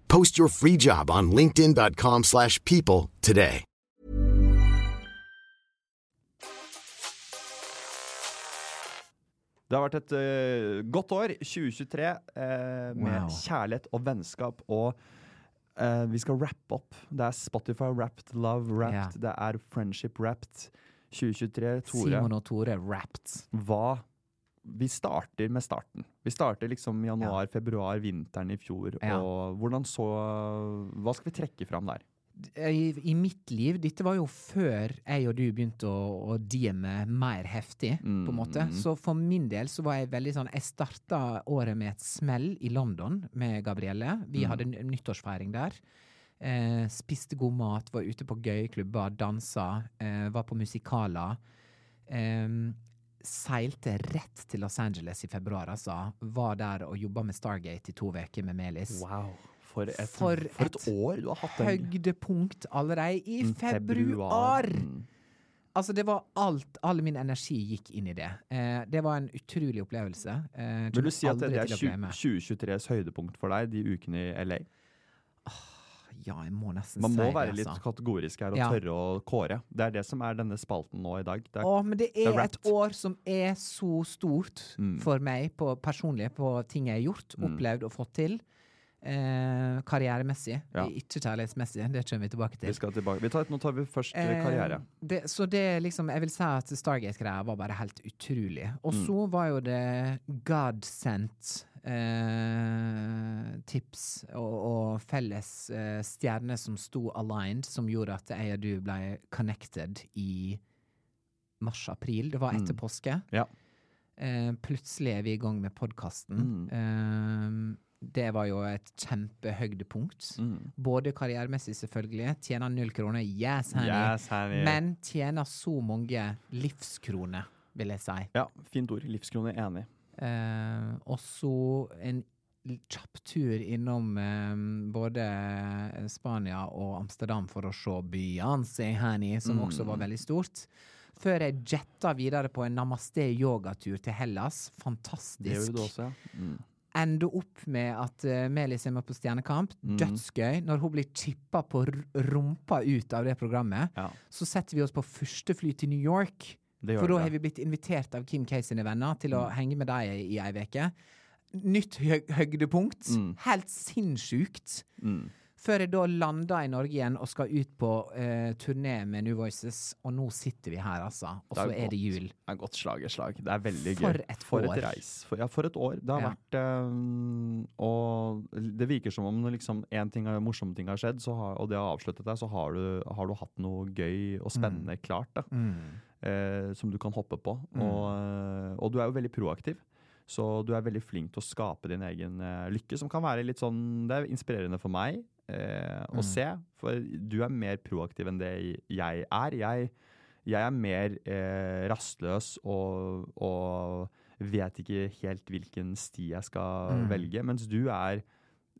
Speaker 3: Post your free job on linkedin.com/people slash people today.
Speaker 1: Det har vært et eh, godt år, 2023, eh, med
Speaker 2: Wow.
Speaker 1: kjærlighet og vennskap. Og eh, vi skal rappe opp. Det er Spotify wrapped, Love wrapped, det er Friendship wrapped. 2023, Tore.
Speaker 2: Simon og Tore wrapped.
Speaker 1: Hva Vi starter med starten. Vi starter liksom januar, februar, vinteren i fjor.
Speaker 2: Ja.
Speaker 1: Og hvordan så Hva skal vi trekke fram der?
Speaker 2: i, i mitt liv Dette var jo før jeg og du begynte å, å DM-e mer heftig, på en måte. Så for min del så var jeg veldig sånn Jeg starta året med et smell i London med Gabrielle. Vi hadde n- nyttårsfeiring der. Eh, spiste god mat, var ute på gøye klubber, dansa, eh, var på musikaler. Em, seilte rett til Los Angeles i februar, altså. Var der og jobba med Stargate i to uker med Melis
Speaker 1: Wow. For et,
Speaker 2: For
Speaker 1: for et,
Speaker 2: et
Speaker 1: år du har hatt. egentlig.
Speaker 2: høydepunkt allerede i februar!
Speaker 1: Mm.
Speaker 2: Altså, det var alt. All min energi gikk inn i det. Eh, det var en utrolig opplevelse. Eh,
Speaker 1: Vil du si at
Speaker 2: kommer
Speaker 1: det
Speaker 2: aldri
Speaker 1: er
Speaker 2: til å
Speaker 1: 20-
Speaker 2: glemme.
Speaker 1: 2023s høydepunkt for deg, de ukene i LA?
Speaker 2: Ja, jeg må nesten
Speaker 1: Man
Speaker 2: si
Speaker 1: må
Speaker 2: det,
Speaker 1: være litt
Speaker 2: altså.
Speaker 1: kategorisk her og
Speaker 2: Ja.
Speaker 1: tørre å kåre. Det er det som er denne spalten nå i dag. Det er,
Speaker 2: Å, men det
Speaker 1: det
Speaker 2: er
Speaker 1: er
Speaker 2: et
Speaker 1: wrapped.
Speaker 2: år som er så stort
Speaker 1: Mm.
Speaker 2: for meg på, personlig på ting jeg har gjort, opplevd og fått til. Eh, karrieremessig.
Speaker 1: Ja.
Speaker 2: Ikke kjærlighetsmessig, det kommer vi tilbake til.
Speaker 1: vi skal tilbake. Vi tar, nå tar vi først eh,
Speaker 2: Eh,
Speaker 1: karriere.
Speaker 2: Det, så det er liksom, jeg vil si at Stargate-greia var bare helt utrolig. Og
Speaker 1: Mm.
Speaker 2: så var jo det God-sendt eh, tips og, og felles eh, stjerner som sto aligned, som gjorde at jeg og du ble connected i mars-april. Det var etter påske.
Speaker 1: Mm. Ja.
Speaker 2: Eh, plutselig er vi i gang med podkasten.
Speaker 1: Mm.
Speaker 2: Eh, det var jo et kjempehøydepunkt.
Speaker 1: Mm.
Speaker 2: Både karrieremessig, selvfølgelig. Tjener null kroner. Yes, honey.
Speaker 1: Yes, honey.
Speaker 2: Men tjener så mange livskroner, vil jeg si.
Speaker 1: Ja, fint ord. Livskrone enig.
Speaker 2: Eh, og så en l- kjapp tur innom eh, både Spania og Amsterdam for å se Beyoncé, honey, som
Speaker 1: Mm.
Speaker 2: også var veldig stort. Før jeg jetta videre på en namaste-yogatur til Hellas. Fantastisk
Speaker 1: Det gjør du også, ja. Mm.
Speaker 2: ende opp med at eh, Melis er med på Stjernekamp.
Speaker 1: Mm.
Speaker 2: Dødsgøy. Når hun blir chippa på r- rumpa ut av det programmet,
Speaker 1: Ja.
Speaker 2: så setter vi oss på første fly til New York.
Speaker 1: Det Mm. gjør
Speaker 2: For da
Speaker 1: vi, ja.
Speaker 2: har vi blitt invitert av Kim K sine venner til å henge med dem i ei uke. Nytt hø høydepunkt.
Speaker 1: Mm.
Speaker 2: Helt sinnssykt. Før jeg da landa i Norge igjen og skal ut på eh, turné med New Voices. Og nå sitter vi her, altså. Og så er det jul.
Speaker 1: Det er godt slag i slag. Det er veldig
Speaker 2: For
Speaker 1: gøy.
Speaker 2: et
Speaker 1: for
Speaker 2: år.
Speaker 1: et reis. For, ja, for et år. Det har
Speaker 2: Ja.
Speaker 1: vært eh, Og det virker som om når liksom én ting har- morsom ting har skjedd, så har, og det har avsluttet deg, så har du, har du hatt noe gøy og spennende
Speaker 2: Mm.
Speaker 1: klart. da. eh, som du kan hoppe på. Og, eh, og du er jo veldig proaktiv. Så du er veldig flink til å skape din egen eh, lykke, som kan være litt sånn Det er inspirerende for meg eh, å se, for du er mer proaktiv enn det jeg er. Jeg, jeg er mer eh, rastløs og, og vet ikke helt hvilken sti jeg skal velge, mens du er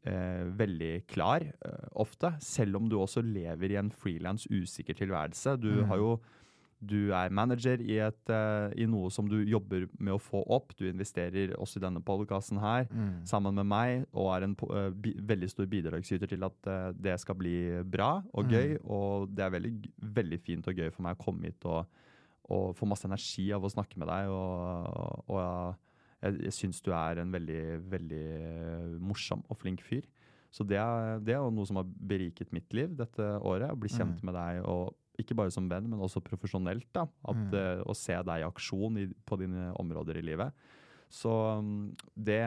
Speaker 1: eh, veldig klar eh, ofte, selv om du også lever i en frilans usikker tilværelse. Du har jo du er manager i, et, eh, i noe som du jobber med å få opp. Du investerer også i denne podkasten her
Speaker 2: Mm.
Speaker 1: sammen med meg, og er en po- eh, bi veldig stor bidragsyter til at eh, det skal bli bra og gøy. Og det er veldig, g- veldig fint og gøy for meg å komme hit og, og få masse energi av å snakke med deg. Og, og jeg, jeg syns du er en veldig, veldig morsom og flink fyr. Så det er, det er jo noe som har beriket mitt liv dette året. Å bli kjent med deg, og ikke bare som venn, men også profesjonelt. da, at, eh, Å se deg i aksjon i, på dine områder i livet. Så mm, det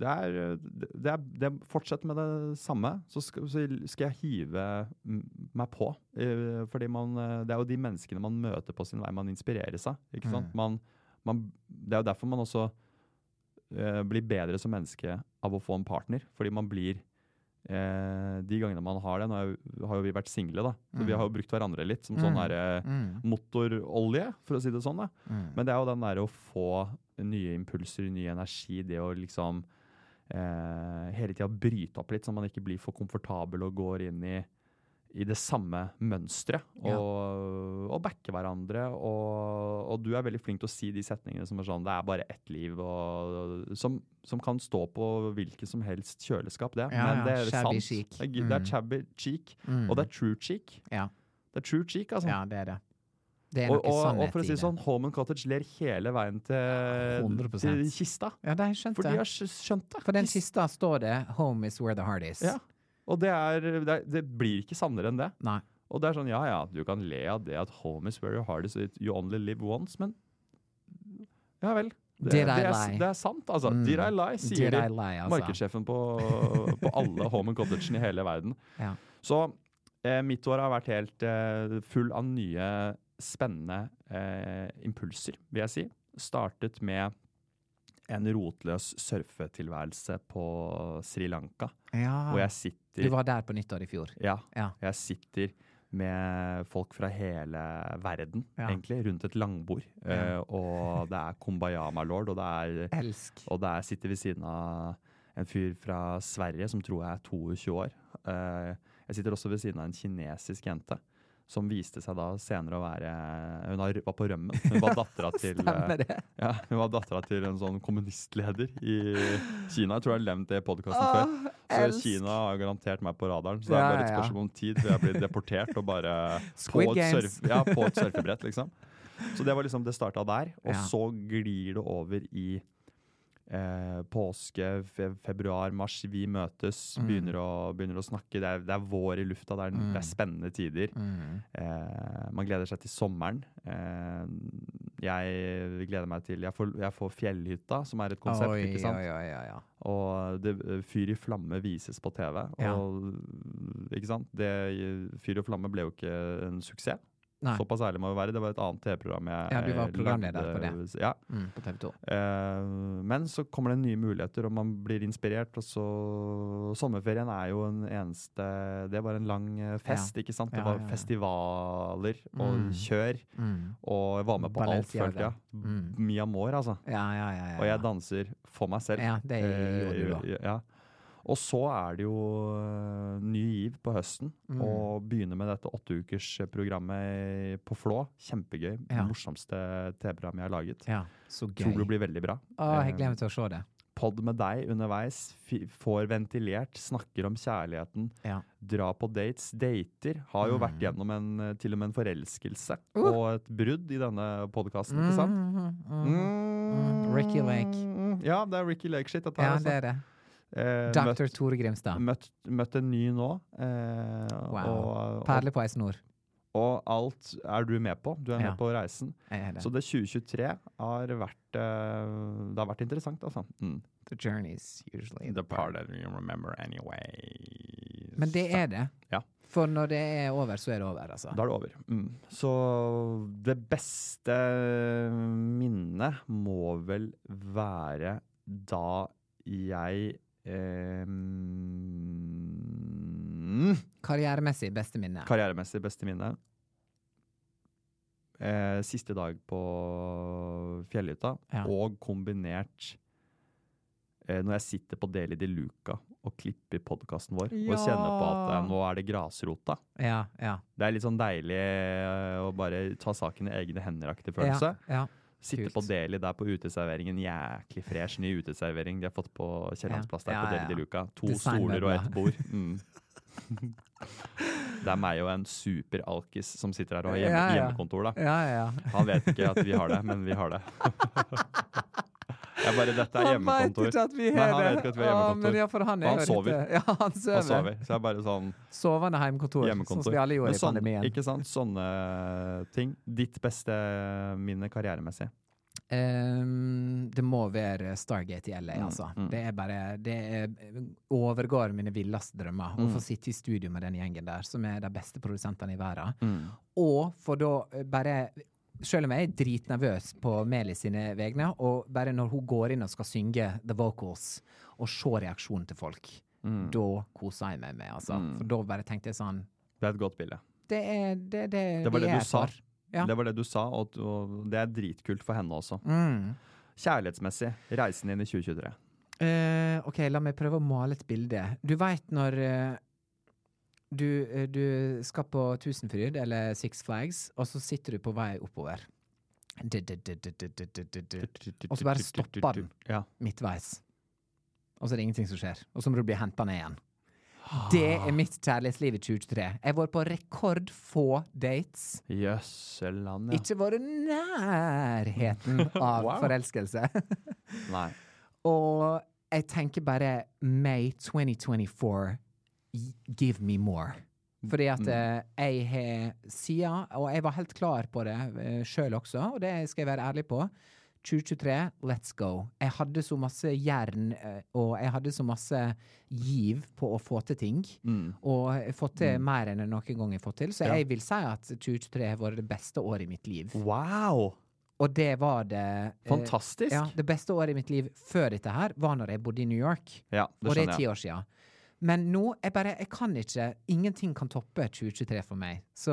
Speaker 1: det er, det er, det er Fortsett med det samme, så skal, så skal jeg hive m- meg på. Eh, Fordi man, eh, det er jo de menneskene man møter på sin vei, man inspireres av. Ikke sant? Man, man, det er jo derfor man også eh, blir bedre som menneske av å få en partner. Fordi man blir eh, De gangene man har det Nå er jo- har jo vi vært single, da. Så vi har jo brukt hverandre litt som sånn her,
Speaker 2: Mm.
Speaker 1: eh, motorolje, for å si det sånn. da. Men det er jo den derre å få nye impulser, ny energi, det å liksom eh, hele tida bryte opp litt, så man ikke blir for komfortabel og går inn i i det samme mønsteret og, og backe hverandre. Og, og du er veldig flink til å si de setningene som er sånn Det er bare ett liv. Og, som, som kan stå på hvilket som helst kjøleskap, det.
Speaker 2: Ja,
Speaker 1: Men
Speaker 2: ja,
Speaker 1: det er
Speaker 2: shabby
Speaker 1: sant.
Speaker 2: chic.
Speaker 1: Det er, det
Speaker 2: Mm.
Speaker 1: er shabby cheek. Og det er true cheek.
Speaker 2: Ja.
Speaker 1: Det er true cheek, altså.
Speaker 2: ja, det er det. Det er
Speaker 1: Og, og,
Speaker 2: noe
Speaker 1: og
Speaker 2: sannhet
Speaker 1: for å si
Speaker 2: i
Speaker 1: det sånn, Holman Cottage ler hele veien til,
Speaker 2: 100%.
Speaker 1: til kista.
Speaker 2: Ja, det har jeg skjønt
Speaker 1: For de
Speaker 2: det.
Speaker 1: har skj- skjønt det.
Speaker 2: For den
Speaker 1: De-
Speaker 2: kista står det 'Home is where the heart is'.
Speaker 1: Ja. Og det, er, det, er, det blir ikke sannere enn det.
Speaker 2: Nei.
Speaker 1: Og det er sånn, ja ja, du kan le av det at home is where your heart is, it- you only live once, men Ja vel. Det,
Speaker 2: Did
Speaker 1: det,
Speaker 2: I
Speaker 1: er,
Speaker 2: lie?
Speaker 1: det er sant, altså.
Speaker 2: Mm.
Speaker 1: Did I lie, sier
Speaker 2: Did
Speaker 1: de.
Speaker 2: I lie, altså.
Speaker 1: Markedssjefen på, på alle home and cottagene i hele verden.
Speaker 2: Ja.
Speaker 1: Så eh, mitt år har vært helt eh, full av nye, spennende eh, impulser, vil jeg si. Startet med en rotløs surfetilværelse på Sri Lanka,
Speaker 2: Ja.
Speaker 1: hvor jeg
Speaker 2: Ah. Du
Speaker 1: sitter
Speaker 2: var der på nyttår i fjor.
Speaker 1: ja,
Speaker 2: Ja.
Speaker 1: jeg sitter med folk fra hele verden,
Speaker 2: Ja.
Speaker 1: egentlig, rundt et langbord.
Speaker 2: Ja.
Speaker 1: Eh, og det er Kumbayama Lord, og det er,
Speaker 2: Elsk.
Speaker 1: og det er sitter ved siden av en fyr fra Sverige som tror jeg er 22 år. Eh, jeg sitter også ved siden av en kinesisk jente. Som viste seg da senere å være Hun har- var på rømmen. Hun var dattera til, eh,
Speaker 2: Stemmer det?
Speaker 1: ja, hun var dattera til en sånn kommunistleder i Kina. Jeg tror jeg har nevnt det i podkasten før. Så
Speaker 2: elsk.
Speaker 1: Kina har garantert meg på radaren, så det
Speaker 2: Ja,
Speaker 1: er bare et
Speaker 2: ja, ja.
Speaker 1: spørsmål om tid før jeg blir deportert og bare på
Speaker 2: Squid
Speaker 1: et,
Speaker 2: Games.
Speaker 1: surf, ja, på et surfebrett, liksom. Så det var liksom det starta der, og
Speaker 2: Ja.
Speaker 1: så glir det over i eh, påske, fe februar, mars. Vi møtes,
Speaker 2: Mm.
Speaker 1: begynner, å, begynner å snakke. Det er, det er vår i lufta, det er, det er spennende tider.
Speaker 2: Mm.
Speaker 1: Eh, man gleder seg til sommeren. Eh, jeg gleder meg til Jeg får, jeg får Fjellhytta, som er et konsept.
Speaker 2: Oi,
Speaker 1: ikke sant?
Speaker 2: oi, oi, oi, oi.
Speaker 1: Og det, Fyr i flamme vises på TV.
Speaker 2: Ja.
Speaker 1: Og, ikke sant? Det, Fyr i flamme ble jo ikke en suksess.
Speaker 2: Nei.
Speaker 1: Såpass ærlig må vi være. Det var et annet TV-program jeg
Speaker 2: Ja, du var
Speaker 1: eh,
Speaker 2: programleder
Speaker 1: lagde-
Speaker 2: på
Speaker 1: Ja.
Speaker 2: Mm, på TV 2.
Speaker 1: Eh, men så kommer det nye muligheter, og man blir inspirert. Og så Sommerferien er jo en eneste Det var en lang eh, fest, ikke sant? Det
Speaker 2: Ja,
Speaker 1: var
Speaker 2: ja, ja.
Speaker 1: festivaler og kjør.
Speaker 2: Mm.
Speaker 1: Og jeg var med på alt,
Speaker 2: Balenciaga.
Speaker 1: følte jeg.
Speaker 2: Mm.
Speaker 1: Mia Moore, altså.
Speaker 2: Ja, ja, ja, ja.
Speaker 1: Og jeg danser for meg selv.
Speaker 2: Ja, det gjorde du da.
Speaker 1: Eh, Ja. Og så er det jo eh, ny giv på høsten.
Speaker 2: Mm.
Speaker 1: Og begynne med dette åtteukersprogrammet på Flå. Kjempegøy.
Speaker 2: Ja.
Speaker 1: Morsomste TV-programmet jeg har laget.
Speaker 2: Ja, så gøy.
Speaker 1: Tror det blir veldig bra. Eh,
Speaker 2: Å, jeg gleder meg til å se det.
Speaker 1: Pod med deg underveis. fi- Får ventilert, snakker om kjærligheten.
Speaker 2: Ja. Mm.
Speaker 1: Dra på dates. Dater. Har jo vært gjennom en, eh, til og med en forelskelse
Speaker 2: Uh.
Speaker 1: og et brudd i denne podkasten, ikke sant?
Speaker 2: mm,
Speaker 1: Mm.
Speaker 2: Ricky Lake.
Speaker 1: Ja, det er Ricky Lake-shit. dette her,
Speaker 2: Ja,
Speaker 1: altså.
Speaker 2: det er det.
Speaker 1: Eh,
Speaker 2: Dr.
Speaker 1: møtt-
Speaker 2: Tore Grimstad.
Speaker 1: Møtt, møtt en ny nå. Eh,
Speaker 2: Wow.
Speaker 1: og, og,
Speaker 2: Perle på ei snor.
Speaker 1: og alt er du med på. Du er
Speaker 2: Ja.
Speaker 1: med på reisen.
Speaker 2: Jeg er det.
Speaker 1: Så det 2023 har vært eh, Det har vært interessant, altså. Mm.
Speaker 2: The journey is usually the part.
Speaker 1: that you remember anyway.
Speaker 2: Men det er det.
Speaker 1: Ja.
Speaker 2: For når det er over, så er det over, altså.
Speaker 1: Da er det over. Mm. Så det beste minnet må vel være da jeg eh, mm,
Speaker 2: Karrieremessig beste minne.
Speaker 1: Karrieremessig beste minne. Eh, siste dag på fjellhytta,
Speaker 2: Ja.
Speaker 1: og kombinert eh, når jeg sitter på Deli de Luca og klipper podkasten vår
Speaker 2: Ja.
Speaker 1: og kjenner på at eh, nå er det grasrota.
Speaker 2: Ja, ja.
Speaker 1: Det er litt sånn deilig eh, å bare ta saken i egne hender-aktig
Speaker 2: ja,
Speaker 1: følelse.
Speaker 2: ja.
Speaker 1: Sitte
Speaker 2: kult.
Speaker 1: på Deli der på uteserveringen. Jæklig fresh ny uteservering de har fått på Kiellandsplass der
Speaker 2: Ja,
Speaker 1: på
Speaker 2: ja,
Speaker 1: Deli de
Speaker 2: ja.
Speaker 1: Luca. To
Speaker 2: Designmøbler.
Speaker 1: stoler og ett bord. Mm. det er meg og en superalkis som sitter her og har hjemme,
Speaker 2: Ja, ja.
Speaker 1: hjemmekontor, da.
Speaker 2: Ja, ja.
Speaker 1: Han vet ikke at vi har det, men vi har det. Jeg bare, dette er
Speaker 2: Han veit
Speaker 1: hjemmekontor.
Speaker 2: ikke at vi
Speaker 1: Nei,
Speaker 2: har
Speaker 1: han
Speaker 2: det.
Speaker 1: vet ikke at vi har
Speaker 2: Å,
Speaker 1: hjemmekontor.
Speaker 2: men ja, for
Speaker 1: Og
Speaker 2: han er
Speaker 1: han
Speaker 2: jo
Speaker 1: sover.
Speaker 2: litt- eh, Ja, han
Speaker 1: Og så er
Speaker 2: sover.
Speaker 1: vi. Så jeg bare sånn
Speaker 2: Sovende heimkontor, sånn
Speaker 1: Hjemmekontor.
Speaker 2: som vi alle gjorde
Speaker 1: Men sånn-
Speaker 2: i pandemien.
Speaker 1: Ikke sant? Sånne ting. Ditt beste minne karrieremessig.
Speaker 2: Ehm, det må være Stargate i LA,
Speaker 1: Mm,
Speaker 2: altså. Det er bare Det er, overgår mine villeste drømmer å
Speaker 1: Mm.
Speaker 2: få sitte i studio med den gjengen der, som er de beste produsentene i verden. Og for da eh, bare Selv om jeg er dritnervøs på Meli sine vegne, og bare når hun går inn og skal synge the vocals, og se reaksjonen til folk,
Speaker 1: Mm.
Speaker 2: da koser jeg meg med, altså. For da bare tenkte jeg sånn
Speaker 1: Det er et godt bilde.
Speaker 2: Det er det, det,
Speaker 1: Det var
Speaker 2: vi
Speaker 1: det
Speaker 2: er
Speaker 1: du sa.
Speaker 2: for. Ja.
Speaker 1: Det var det du sa, og, og det er dritkult for henne også.
Speaker 2: Mm.
Speaker 1: Kjærlighetsmessig, reisen inn i 2023.
Speaker 2: Eh, ok, la meg prøve å male et bilde. Du veit når eh, du, eh, du skal på Tusenfryd eller Six Flags, og så sitter du på vei oppover. Og så bare stopper den
Speaker 1: Ja.
Speaker 2: midtveis. Og så er det ingenting som skjer. Og så må du bli henta ned igjen.
Speaker 1: Ah.
Speaker 2: Det er mitt kjærlighetsliv i 2023. Jeg har vært på rekordfå dates.
Speaker 1: Jøsseland, ja.
Speaker 2: Ikke vært i nærheten av
Speaker 1: Wow.
Speaker 2: forelskelse.
Speaker 1: Nei.
Speaker 2: Og jeg tenker bare May 2024, y- give me more. Fordi at eh, jeg har siden, og jeg var helt klar på det uh, sjøl også, og det skal jeg være ærlig på 2023, let's go. Jeg hadde så masse jern, eh, og jeg hadde så masse giv på å få til ting. Og jeg har fått til mer enn jeg noen gang har fått til, så jeg vil si at 2023 har vært det beste året i mitt liv.
Speaker 1: Wow!
Speaker 2: Og det var det eh,
Speaker 1: Mm. Fantastisk.
Speaker 2: Ja, Det beste året i mitt liv før dette her var når jeg bodde i New York.
Speaker 1: Ja, det
Speaker 2: og det er
Speaker 1: skjønner
Speaker 2: ti
Speaker 1: jeg.
Speaker 2: år siden. Men nå jeg bare Jeg kan ikke Ingenting kan toppe 2023 for meg. Så,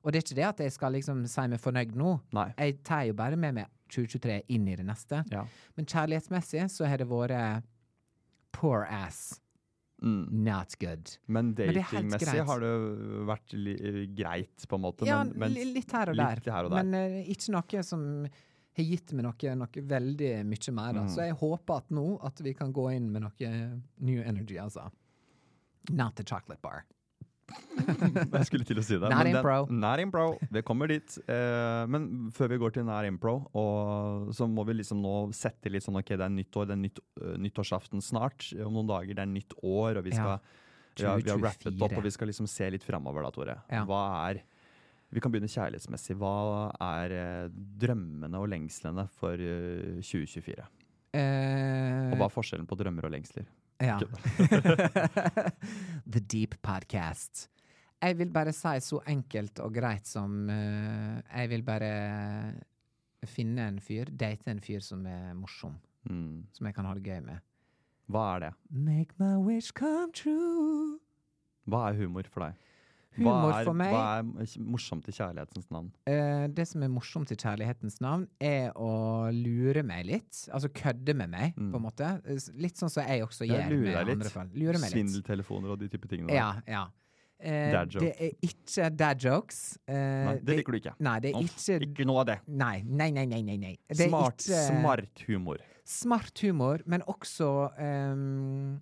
Speaker 2: og det er ikke det at jeg skal liksom si meg fornøyd nå.
Speaker 1: Nei.
Speaker 2: Jeg tar jo bare med meg 2023 inn i det neste.
Speaker 1: Ja.
Speaker 2: Men kjærlighetsmessig så har det vært poor ass.
Speaker 1: Mm.
Speaker 2: Not good.
Speaker 1: Men
Speaker 2: Men det er helt
Speaker 1: datingmessig
Speaker 2: greit.
Speaker 1: har det vært li eh, greit, på en måte.
Speaker 2: Ja,
Speaker 1: men, men,
Speaker 2: li- litt her og der.
Speaker 1: litt her og der.
Speaker 2: Men eh, ikke noe som har gitt meg noe, noe veldig mye
Speaker 1: Mm.
Speaker 2: mer. Da. Så jeg håper at nå at vi kan gå inn med noe new energy, altså. Not the chocolate bar.
Speaker 1: Jeg skulle til å si det.
Speaker 2: Nær
Speaker 1: men den-
Speaker 2: impro.
Speaker 1: Nær impro. Det kommer dit. Eh, men før vi går til nær impro, og så må vi liksom nå sette litt sånn ok, det er nytt år, det er nytt, eh, nyttårsaften snart. Om noen dager, det er nytt år, og vi
Speaker 2: Ja.
Speaker 1: skal vi har, vi har rappet
Speaker 2: 2024.
Speaker 1: opp, og vi skal liksom se litt framover da, Tore.
Speaker 2: Ja.
Speaker 1: Hva er Vi kan begynne kjærlighetsmessig. Hva er eh, drømmene og lengslene for eh, 2024?
Speaker 2: Eh,
Speaker 1: Og hva er forskjellen på drømmer og lengsler?
Speaker 2: ja. the Deep Podcast. Jeg vil bare si så enkelt og greit som eh, Jeg vil bare finne en fyr, date en fyr som er morsom,
Speaker 1: Mm.
Speaker 2: som jeg kan ha det gøy med.
Speaker 1: Hva er det?
Speaker 2: Make my wish come true.
Speaker 1: Hva er humor for deg?
Speaker 2: Humor
Speaker 1: hva er,
Speaker 2: for meg
Speaker 1: Hva er morsomt i kjærlighetens navn?
Speaker 2: eh, Det som er morsomt i kjærlighetens navn, er å lure meg litt. Altså kødde med meg,
Speaker 1: Mm.
Speaker 2: på en måte. S- Litt sånn som jeg også
Speaker 1: Jeg
Speaker 2: gjør
Speaker 1: lurer
Speaker 2: med
Speaker 1: deg
Speaker 2: andre
Speaker 1: litt.
Speaker 2: folk. Lure meg litt.
Speaker 1: Svindeltelefoner og de type tingene. der.
Speaker 2: Ja, ja. Eh,
Speaker 1: Dad
Speaker 2: det er ikke dad jokes. Eh,
Speaker 1: Nei, det liker du ikke.
Speaker 2: Nei, det er
Speaker 1: Uff,
Speaker 2: ikke
Speaker 1: ikke noe av det.
Speaker 2: Nei, nei, nei, nei. nei, nei. Det er
Speaker 1: Smart,
Speaker 2: ikke-
Speaker 1: smart humor.
Speaker 2: smart humor, men også ehm,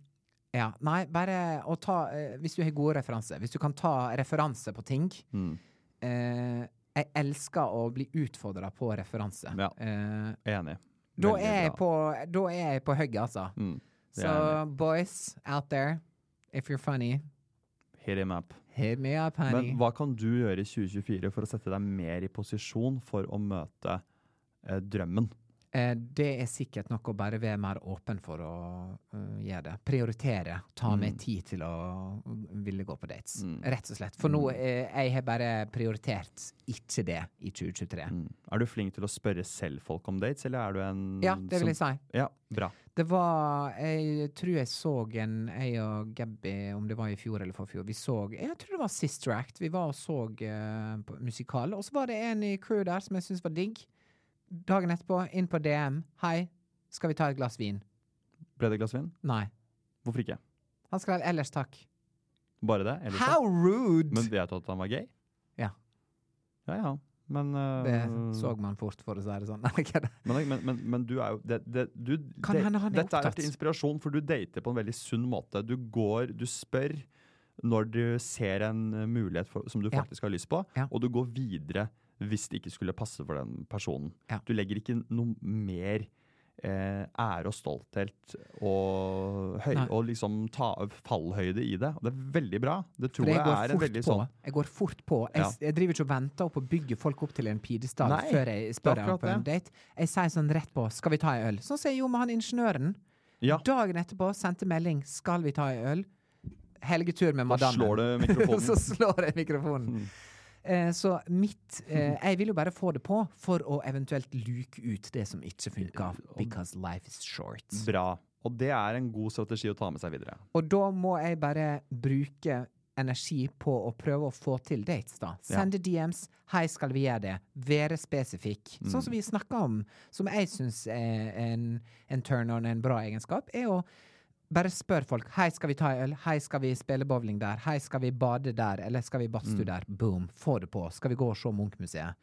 Speaker 2: Ja, nei, bare å ta eh, Hvis du har gode referanser, hvis du kan ta referanse på ting
Speaker 1: Mm.
Speaker 2: eh, Jeg elsker å bli utfordra på referanse.
Speaker 1: Ja.
Speaker 2: Eh,
Speaker 1: Enig.
Speaker 2: da,
Speaker 1: Veldig
Speaker 2: er jeg
Speaker 1: bra.
Speaker 2: på, da er jeg på hugget, altså.
Speaker 1: Mm. det
Speaker 2: Så
Speaker 1: er
Speaker 2: boys out there, if you're funny,
Speaker 1: Hit him up.
Speaker 2: hit me up, honey.
Speaker 1: Men hva kan du gjøre i 2024 for å sette deg mer i posisjon for å møte eh, drømmen?
Speaker 2: Eh, det er sikkert nok å bare være mer åpen for å eh, gjøre det. Prioritere. Ta meg
Speaker 1: Mm.
Speaker 2: tid til å ville gå på dates. Rett og slett. For
Speaker 1: Mm.
Speaker 2: nå eh, jeg har bare prioritert ikke det i 2023.
Speaker 1: Mm. Er du flink til å spørre selv folk om dates, eller er du en
Speaker 2: Ja, det vil jeg si.
Speaker 1: Ja, bra.
Speaker 2: Det var Jeg tror jeg så en Jeg og Gabby, om det var i fjor eller forfjor, vi så Jeg tror det var Sister Act. Vi var og så eh, på musikal, og så var det en i crew der som jeg syntes var digg. Dagen etterpå, inn på DM. Hei, skal vi ta et glass vin?
Speaker 1: Ble det et glass vin?
Speaker 2: Nei.
Speaker 1: Hvorfor ikke?
Speaker 2: Han skrev ellers takk.
Speaker 1: Bare det? Ellers
Speaker 2: How rude!
Speaker 1: Men vet du at han var gay?
Speaker 2: Ja.
Speaker 1: Ja, ja. Men, eh,
Speaker 2: det så man fort, for å si det sånn. Nei, hva er det?
Speaker 1: men, men, men, men du er jo det, det, du,
Speaker 2: Kan
Speaker 1: det,
Speaker 2: hende han er
Speaker 1: Dette er
Speaker 2: opptatt.
Speaker 1: til inspirasjon, for du dater på en veldig sunn måte. Du går, du spør når du ser en eh, mulighet for, som du
Speaker 2: Ja.
Speaker 1: faktisk har lyst på,
Speaker 2: Ja.
Speaker 1: og du går videre hvis det ikke skulle passe for den personen.
Speaker 2: Ja.
Speaker 1: Du legger ikke noe mer eh, ære og stolthet og, høy,
Speaker 2: Nei.
Speaker 1: og liksom ta, fallhøyde i det. Og det er veldig bra. Det
Speaker 2: For
Speaker 1: tror jeg,
Speaker 2: jeg går
Speaker 1: er en
Speaker 2: fort
Speaker 1: veldig
Speaker 2: på.
Speaker 1: sånn
Speaker 2: Jeg går fort på. Jeg, s- jeg driver ikke og venter opp og bygger folk opp til en pidestall
Speaker 1: Nei,
Speaker 2: før jeg
Speaker 1: det er
Speaker 2: spør dem
Speaker 1: akkurat
Speaker 2: på en date. Jeg sier sånn rett på 'skal vi ta ei øl'? Sånn sier jeg jo med han ingeniøren.
Speaker 1: Ja.
Speaker 2: Dagen etterpå sendte melding 'skal vi ta ei øl'? Helgetur med
Speaker 1: Da
Speaker 2: madammen.
Speaker 1: slår du mikrofonen. Hmm.
Speaker 2: så slår jeg mikrofonen. Eh, så mitt eh, Jeg vil jo bare få det på for å eventuelt luke ut det som ikke funker. Because life is short.
Speaker 1: Bra. Og det er en god strategi å ta med seg videre.
Speaker 2: Og da må jeg bare bruke energi på å prøve å få til dates, da. Sende DMs. Hei, skal vi gjøre det? Være spesifikk. Sånn som vi snakka om, som jeg syns er en, en turn-on, en bra egenskap, er å Bare spør folk. 'Hei, skal vi ta øl?' 'Hei, skal vi spille bowling der?' 'Hei, skal vi bade der?' Eller 'skal vi i badstue der?' Boom. Få det på. Skal vi gå og se Munchmuseet?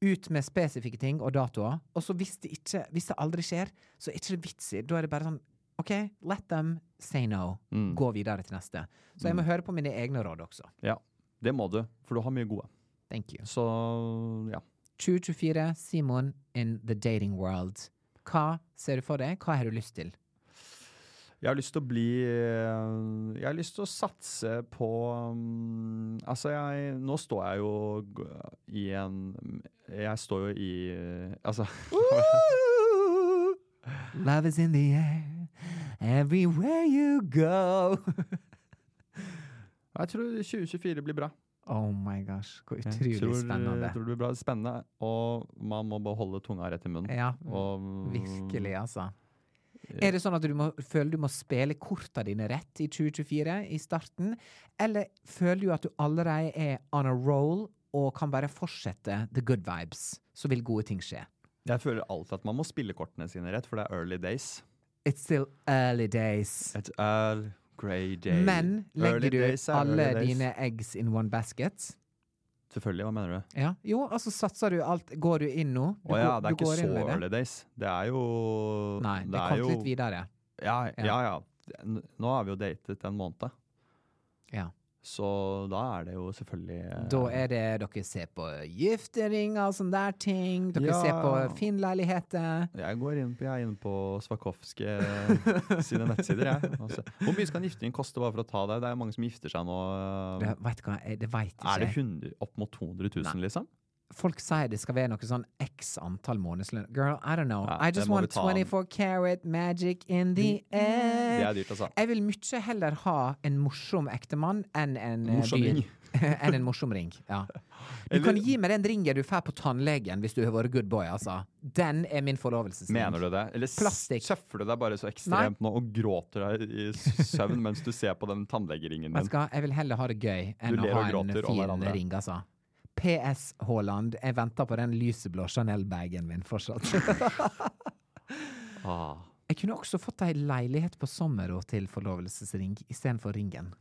Speaker 2: Ut med spesifikke ting og datoer. Og så hvis det, ikke, hvis det aldri skjer, så er det ikke det vits i. Da er det bare sånn OK, let them say no.
Speaker 1: Mm.
Speaker 2: Gå videre til neste. Så jeg må høre på mine egne råd også.
Speaker 1: Ja, det må du, for du har mye gode.
Speaker 2: Thank you.
Speaker 1: Så ja.
Speaker 2: 2024, Simon in the dating world. Hva ser du for deg? Hva har du lyst til?
Speaker 1: Jeg har lyst til å bli eh, Jeg har lyst til å satse på mm, Altså, jeg Nå står jeg jo g- i en Jeg står jo i eh, Altså
Speaker 2: Love is in the air, everywhere you go.
Speaker 1: Jeg tror 2024 blir bra.
Speaker 2: oh my gosh, hvor
Speaker 1: Jeg
Speaker 2: utrolig
Speaker 1: tror,
Speaker 2: spennende.
Speaker 1: Jeg tror det blir bra. Spennende, og man må bare holde tunga rett i munnen.
Speaker 2: Ja,
Speaker 1: Og, mm,
Speaker 2: virkelig, altså. Er det sånn at du må, føler du må spille korta dine rett i 2024, i starten? Eller føler du at du allerede er on a roll og kan bare fortsette the good vibes, så vil gode ting skje?
Speaker 1: Jeg føler alltid at man må spille kortene sine rett, for det er early days.
Speaker 2: It's still early days.
Speaker 1: Et earl grey day.
Speaker 2: Men
Speaker 1: Early
Speaker 2: legger
Speaker 1: days
Speaker 2: du
Speaker 1: er
Speaker 2: alle
Speaker 1: early days.
Speaker 2: dine eggs in one basket?
Speaker 1: Selvfølgelig, hva mener du?
Speaker 2: Ja. Jo, altså satser du alt Går du inn nå? Du
Speaker 1: Å ja,
Speaker 2: går-
Speaker 1: det er
Speaker 2: du går
Speaker 1: ikke
Speaker 2: inn
Speaker 1: så
Speaker 2: med det.
Speaker 1: early days. Det er jo
Speaker 2: Nei, det,
Speaker 1: er
Speaker 2: kom
Speaker 1: jo-
Speaker 2: litt videre.
Speaker 1: Ja,
Speaker 2: Ja.
Speaker 1: ja, ja. N- Nå har vi jo datet en måned,
Speaker 2: Ja.
Speaker 1: så da er det jo selvfølgelig eh,
Speaker 2: Da er det dere ser på gifteringer og sånne der ting. Dere
Speaker 1: Ja.
Speaker 2: ser på Finn-leiligheter.
Speaker 1: Jeg går inn på, jeg er inne på Svakovske sine nettsider, jeg. Altså, hvor mye skal en gifting koste bare for å ta deg? Det er mange som gifter seg nå. eh,
Speaker 2: Det vet, du hva, jeg- det vet ikke
Speaker 1: Er det
Speaker 2: jeg.
Speaker 1: 100, opp mot 200 000, liksom?
Speaker 2: Folk sier det skal være noe sånn x antall månedslønn. Girl, I don't know.
Speaker 1: Ja,
Speaker 2: I
Speaker 1: det
Speaker 2: just
Speaker 1: må vi
Speaker 2: want
Speaker 1: ta an.
Speaker 2: 24 karat magic in the
Speaker 1: Det
Speaker 2: air.
Speaker 1: er dyrt, altså.
Speaker 2: Jeg vil mye heller ha en morsom ektemann enn en eh,
Speaker 1: Morsom
Speaker 2: dyr-
Speaker 1: ring.
Speaker 2: enn en morsom ring. Ja. Du
Speaker 1: Eller-
Speaker 2: kan gi meg den ringen du får på tannlegen hvis du har vært good boy, altså. Den er min forlovelsesring.
Speaker 1: Mener du det? Eller s-
Speaker 2: Plastikk.
Speaker 1: søffer du deg bare så ekstremt nå og gråter deg i s- søvn mens du ser på den tannlegeringen
Speaker 2: Vet
Speaker 1: din?
Speaker 2: du hva, jeg vil heller ha det gøy enn
Speaker 1: Du
Speaker 2: å
Speaker 1: ler
Speaker 2: ha
Speaker 1: og
Speaker 2: en
Speaker 1: gråter om
Speaker 2: fin
Speaker 1: hverandre.
Speaker 2: ring, altså. PS Haaland, jeg venter på den lyseblå Chanel-bagen min fortsatt. jeg
Speaker 1: Ah.
Speaker 2: kunne også fått ei leilighet på sommeren til forlovelsesring istedenfor ringen.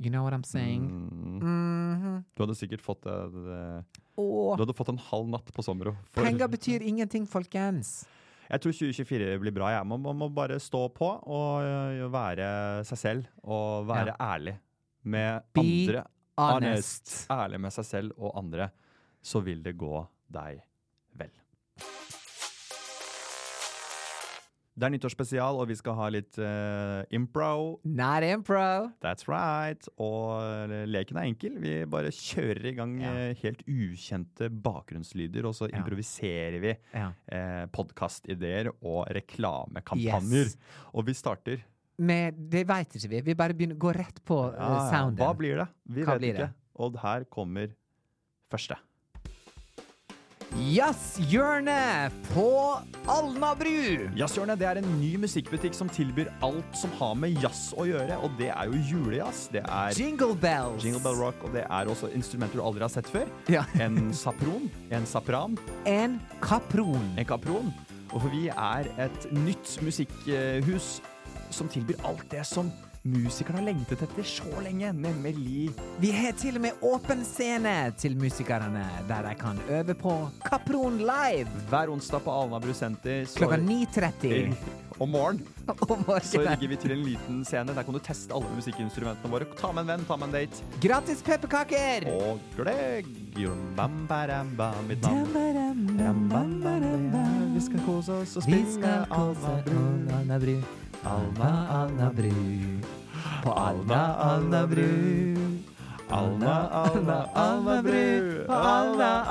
Speaker 2: You know what I'm saying?
Speaker 1: Mm.
Speaker 2: Mhm.
Speaker 1: Du hadde sikkert fått eh, det-
Speaker 2: Åh,
Speaker 1: Du hadde fått en halv natt på Sommero. for-
Speaker 2: penger betyr ingenting, folkens!
Speaker 1: Jeg tror 2024 blir bra. Jeg. Man, man må bare stå på og eh, være seg selv. Og være ærlig med
Speaker 2: Be
Speaker 1: andre.
Speaker 2: Honest.
Speaker 1: Ærlig med seg selv og andre. Så vil det gå deg vel. Det er nyttårsspesial, og vi skal ha litt eh, impro.
Speaker 2: Not impro!
Speaker 1: That's right. Og eh, leken er enkel. Vi bare kjører i gang
Speaker 2: Ja.
Speaker 1: eh, helt ukjente bakgrunnslyder, og så
Speaker 2: Ja.
Speaker 1: improviserer vi
Speaker 2: Ja.
Speaker 1: eh, podkastideer og reklamekampanjer.
Speaker 2: Yes.
Speaker 1: Og vi starter.
Speaker 2: Men det veit ikke vi. Vi bare begynner, går rett på eh,
Speaker 1: Ja, ja.
Speaker 2: sounden.
Speaker 1: Hva blir det? Vi
Speaker 2: Hva
Speaker 1: vet
Speaker 2: blir
Speaker 1: ikke.
Speaker 2: det?
Speaker 1: Og her kommer første.
Speaker 2: Jazzhjørnet på Alnabru!
Speaker 1: Jazzhjørnet det er en ny musikkbutikk som tilbyr alt som har med jazz å gjøre, og det er jo julejazz. Det er
Speaker 2: Jingle bells!
Speaker 1: Jingle Bell Rock, og det er også instrumenter du aldri har sett før.
Speaker 2: Ja.
Speaker 1: En sapron, en sapran,
Speaker 2: En kapron.
Speaker 1: en kapron. Og for vi er et nytt musikkhus som tilbyr alt det som musikerne har lengtet etter så lenge, nemlig
Speaker 2: Vi har til og med åpen scene til musikerne, der de kan øve på Kapron live
Speaker 1: Hver onsdag på Alnabru senter så-
Speaker 2: klokka 9.30
Speaker 1: om morgenen
Speaker 2: om
Speaker 1: så rigger
Speaker 2: morgenen.
Speaker 1: vi til en liten scene. Der kan du teste alle musikkinstrumentene våre. Ta med en venn, ta med en date.
Speaker 2: Gratis pepperkaker!
Speaker 1: Og gløgg! Bam, baram, bam, mitt navn.
Speaker 2: Dam-ba-dam, dam-ba-dam-ba.
Speaker 1: Vi skal kose oss og
Speaker 2: Vi skal
Speaker 1: spille
Speaker 2: kose
Speaker 1: Alnabru.
Speaker 2: Alnabru, Alna, Alnabru. På Alna, Alnabru.
Speaker 1: Alna, Alna, Alnabru.
Speaker 2: På Alna,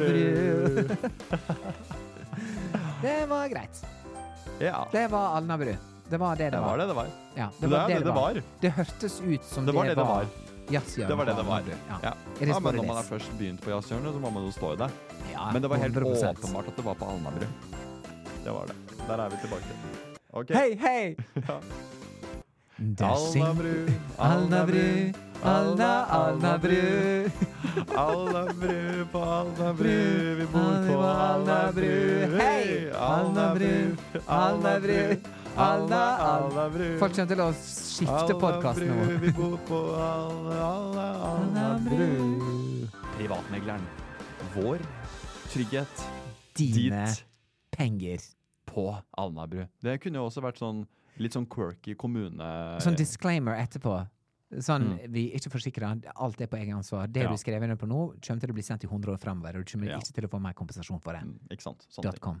Speaker 2: Alnabru. Det var greit.
Speaker 1: Ja,
Speaker 2: Det var Alnabru. Det var det det
Speaker 1: det var
Speaker 2: var.
Speaker 1: det det var.
Speaker 2: Ja,
Speaker 1: Det er det det var.
Speaker 2: Det hørtes ut som
Speaker 1: Det var det det var.
Speaker 2: Jazzhjørnet
Speaker 1: Det var det
Speaker 2: på
Speaker 1: det var.
Speaker 2: Alnabru. Ja.
Speaker 1: Ja.
Speaker 2: It is
Speaker 1: Ja,
Speaker 2: what
Speaker 1: men
Speaker 2: it
Speaker 1: når man har
Speaker 2: is.
Speaker 1: først begynt på jazzhjørnet, så må man jo stå i det.
Speaker 2: Ja,
Speaker 1: Men det var helt
Speaker 2: 100%.
Speaker 1: åpenbart at det var på Alnabru. Det var det. Der er vi tilbake. Ok.
Speaker 2: Hei, hei! Der
Speaker 1: Alnabru,
Speaker 2: synger- Alnabru, Alna, Alnabru.
Speaker 1: Alnabru på Alnabru, vi bor på Alnabru.
Speaker 2: Hei! Alnabru, Alnabru, Alla, alla
Speaker 1: bru.
Speaker 2: Folk kommer til å skifte podkast nå.
Speaker 1: Alla bru, vi bor på alla, alla, alla bru. Privatmegleren. Vår trygghet
Speaker 2: Dine
Speaker 1: dit
Speaker 2: penger.
Speaker 1: på Alnabru. Det kunne jo også vært sånn litt sånn quirky kommune...
Speaker 2: Sånn disclaimer etterpå. Sånn, Vi er ikke forsikra. Alt er på egen ansvar. Det
Speaker 1: Mm. Ja.
Speaker 2: du skrev under på nå, kommer til å bli sendt i 100 år framover, og du kommer
Speaker 1: Ja. Mm.
Speaker 2: ikke til å få mer kompensasjon for det.
Speaker 1: Ikke sant? Sånne ting.
Speaker 2: Dot com.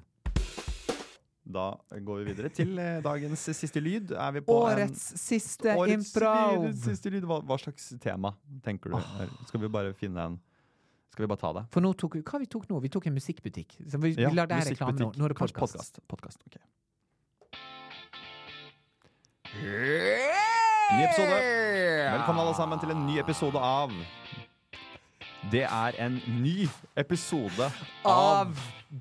Speaker 1: Da går vi videre til eh, dagens siste lyd. Er vi på
Speaker 2: Årets siste
Speaker 1: en, årets
Speaker 2: improv!
Speaker 1: lyd- siste lyd? Hva, hva slags tema tenker du? Skal vi bare finne en Skal vi bare ta det?
Speaker 2: For nå tok vi Hva vi tok nå? Vi tok en musikkbutikk. Så vi, vi lar det reklame nå. Nå er det podkast.
Speaker 1: podkast. ok. Ny episode. Velkommen alle sammen til en ny episode av Det er en ny episode av
Speaker 2: Av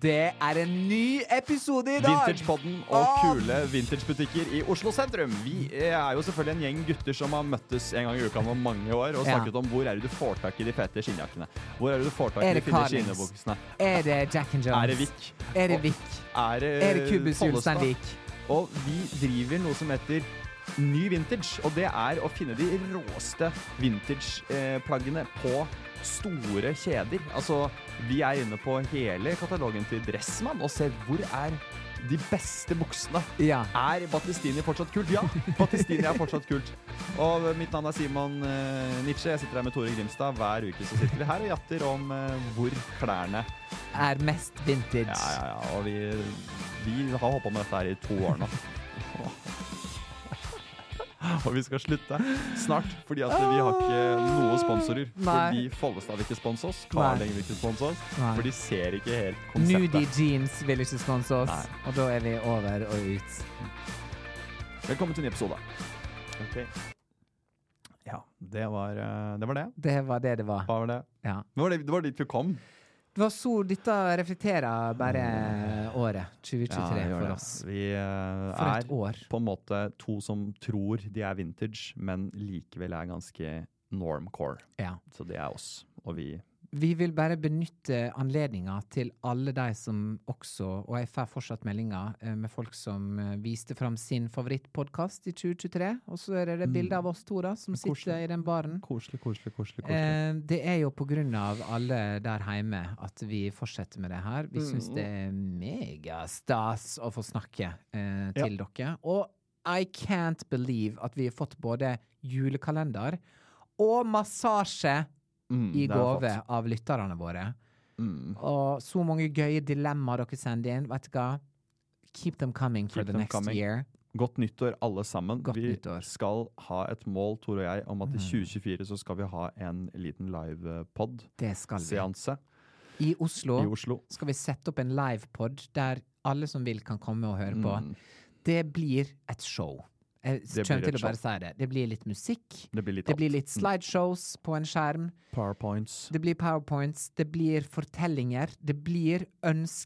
Speaker 2: Det er en ny episode i dag!
Speaker 1: Vintagepodden og kule vintagebutikker i Oslo sentrum. Vi er jo selvfølgelig en gjeng gutter som har møttes en gang i uka om mange år og
Speaker 2: Ja.
Speaker 1: snakket om hvor er det du får tak i de fete skinnjakkene. Hvor er det du får tak i
Speaker 2: Er
Speaker 1: de
Speaker 2: det
Speaker 1: fine
Speaker 2: Carlings?
Speaker 1: skinnebuksene.
Speaker 2: Er det Jack and Jones?
Speaker 1: Er det Vik?
Speaker 2: Er det
Speaker 1: Og-
Speaker 2: Vik?
Speaker 1: Er det,
Speaker 2: Er det Kubus
Speaker 1: Follestad?
Speaker 2: Ulsteinvik?
Speaker 1: Og vi driver noe som heter Ny vintage, og det er å finne de råeste vintage-plaggene på store kjeder. Altså, vi er inne på hele katalogen til Dressmann og ser hvor er de beste buksene.
Speaker 2: Ja.
Speaker 1: Er Battistini fortsatt kult? Ja, Battistini er fortsatt kult. Og mitt navn er Simon uh, Nietzsche. Jeg sitter her med Tore Grimstad. Hver uke så sitter vi her og jatter om eh, hvor klærne
Speaker 2: Er mest vintage.
Speaker 1: ja, ja, ja. Og vi, vi har holdt på med dette her i to år nå. Og vi skal slutte snart, fordi at vi har ikke noe sponsorer.
Speaker 2: Ah, Nei.
Speaker 1: Fordi Follestad vil ikke sponse oss, Carling vil ikke sponse oss,
Speaker 2: Nei.
Speaker 1: for de ser ikke helt
Speaker 2: Nudie
Speaker 1: konseptet.
Speaker 2: jeans vil ikke sponse oss,
Speaker 1: Nei.
Speaker 2: og da er vi over og ut.
Speaker 1: Velkommen til en ny episode. Ja, det var eh, det. Var det.
Speaker 2: Det var det det var.
Speaker 1: Hva var det?
Speaker 2: Ja.
Speaker 1: Det var, det, det var dit vi kom.
Speaker 2: Det var så Dette reflekterer bare året 2023
Speaker 1: Mm. det gjør det.
Speaker 2: for oss.
Speaker 1: Vi eh,
Speaker 2: For et
Speaker 1: er
Speaker 2: år.
Speaker 1: på en måte to som tror de er vintage, men likevel er ganske normcore.
Speaker 2: Ja.
Speaker 1: Så det er oss, og vi
Speaker 2: Vi vil bare benytte anledninga til alle de som også, og jeg får fortsatt meldinger eh, med folk som eh, viste fram sin favorittpodkast i 2023, og så er det Mm. det bildet av oss to da, som sitter
Speaker 1: Koselig.
Speaker 2: i den baren.
Speaker 1: Koselig, koselig, koselig.
Speaker 2: Eh, det er jo på grunn av alle der hjemme at vi fortsetter med det her. Vi syns det er megastas å få snakke eh, til dere. Og I can't believe at vi har fått både julekalender og massasje
Speaker 1: Mm,
Speaker 2: i
Speaker 1: det har vi
Speaker 2: gave av lytterne våre.
Speaker 1: Mm.
Speaker 2: Og så mange gøye dilemmaer dere sender inn. Vet du hva? Keep them coming for
Speaker 1: Keep
Speaker 2: the
Speaker 1: them
Speaker 2: next
Speaker 1: coming.
Speaker 2: year.
Speaker 1: Godt nyttår, alle sammen.
Speaker 2: Godt
Speaker 1: vi
Speaker 2: nyttår. Mm.
Speaker 1: skal ha et mål, Tore og jeg, om at i 2024 så skal vi ha en liten livepod-seanse
Speaker 2: Det skal vi. I Oslo
Speaker 1: i Oslo.
Speaker 2: skal vi sette opp en livepod der alle som vil, kan komme og høre på. Det blir et show. Jeg
Speaker 1: Mm. blir
Speaker 2: kommer
Speaker 1: et
Speaker 2: til å
Speaker 1: show.
Speaker 2: bare si det. Det blir litt musikk.
Speaker 1: Det blir litt
Speaker 2: Det blir
Speaker 1: alt. Mm.
Speaker 2: litt slideshows på en skjerm.
Speaker 1: Powerpoints.
Speaker 2: Det blir powerpoints, det blir fortellinger, det blir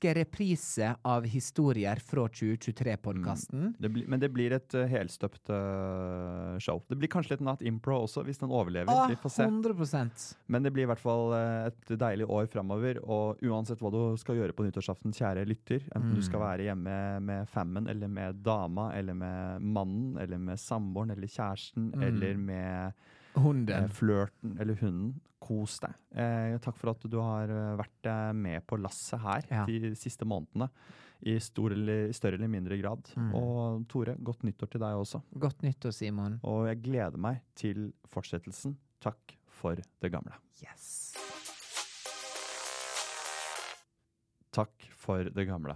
Speaker 2: ønskereprise av historier
Speaker 1: Mm.
Speaker 2: fra 2023-podkasten.
Speaker 1: Det blir, men det blir et eh, helstøpt eh, show. Det blir kanskje litt Nat Impro også, hvis den overlever.
Speaker 2: Ah,
Speaker 1: vi får se.
Speaker 2: 100
Speaker 1: Men det blir i hvert fall eh, et deilig år framover. Og uansett hva du skal gjøre på nyttårsaften, kjære lytter, enten du skal være hjemme med fammen, eller med dama, eller med mannen, eller med samboeren, eller kjæresten, eller med eh,
Speaker 2: Hunden.
Speaker 1: flørten eller hunden, kos deg. Eh, takk for at du har eh, vært eh, med på lasset her
Speaker 2: Ja.
Speaker 1: de siste månedene. I stor eller, i større eller mindre grad. Og Tore, godt nyttår til deg også.
Speaker 2: Godt nyttår, Simon.
Speaker 1: Og jeg gleder meg til fortsettelsen. Takk for det gamle.
Speaker 2: Yes.
Speaker 1: Takk for det gamle.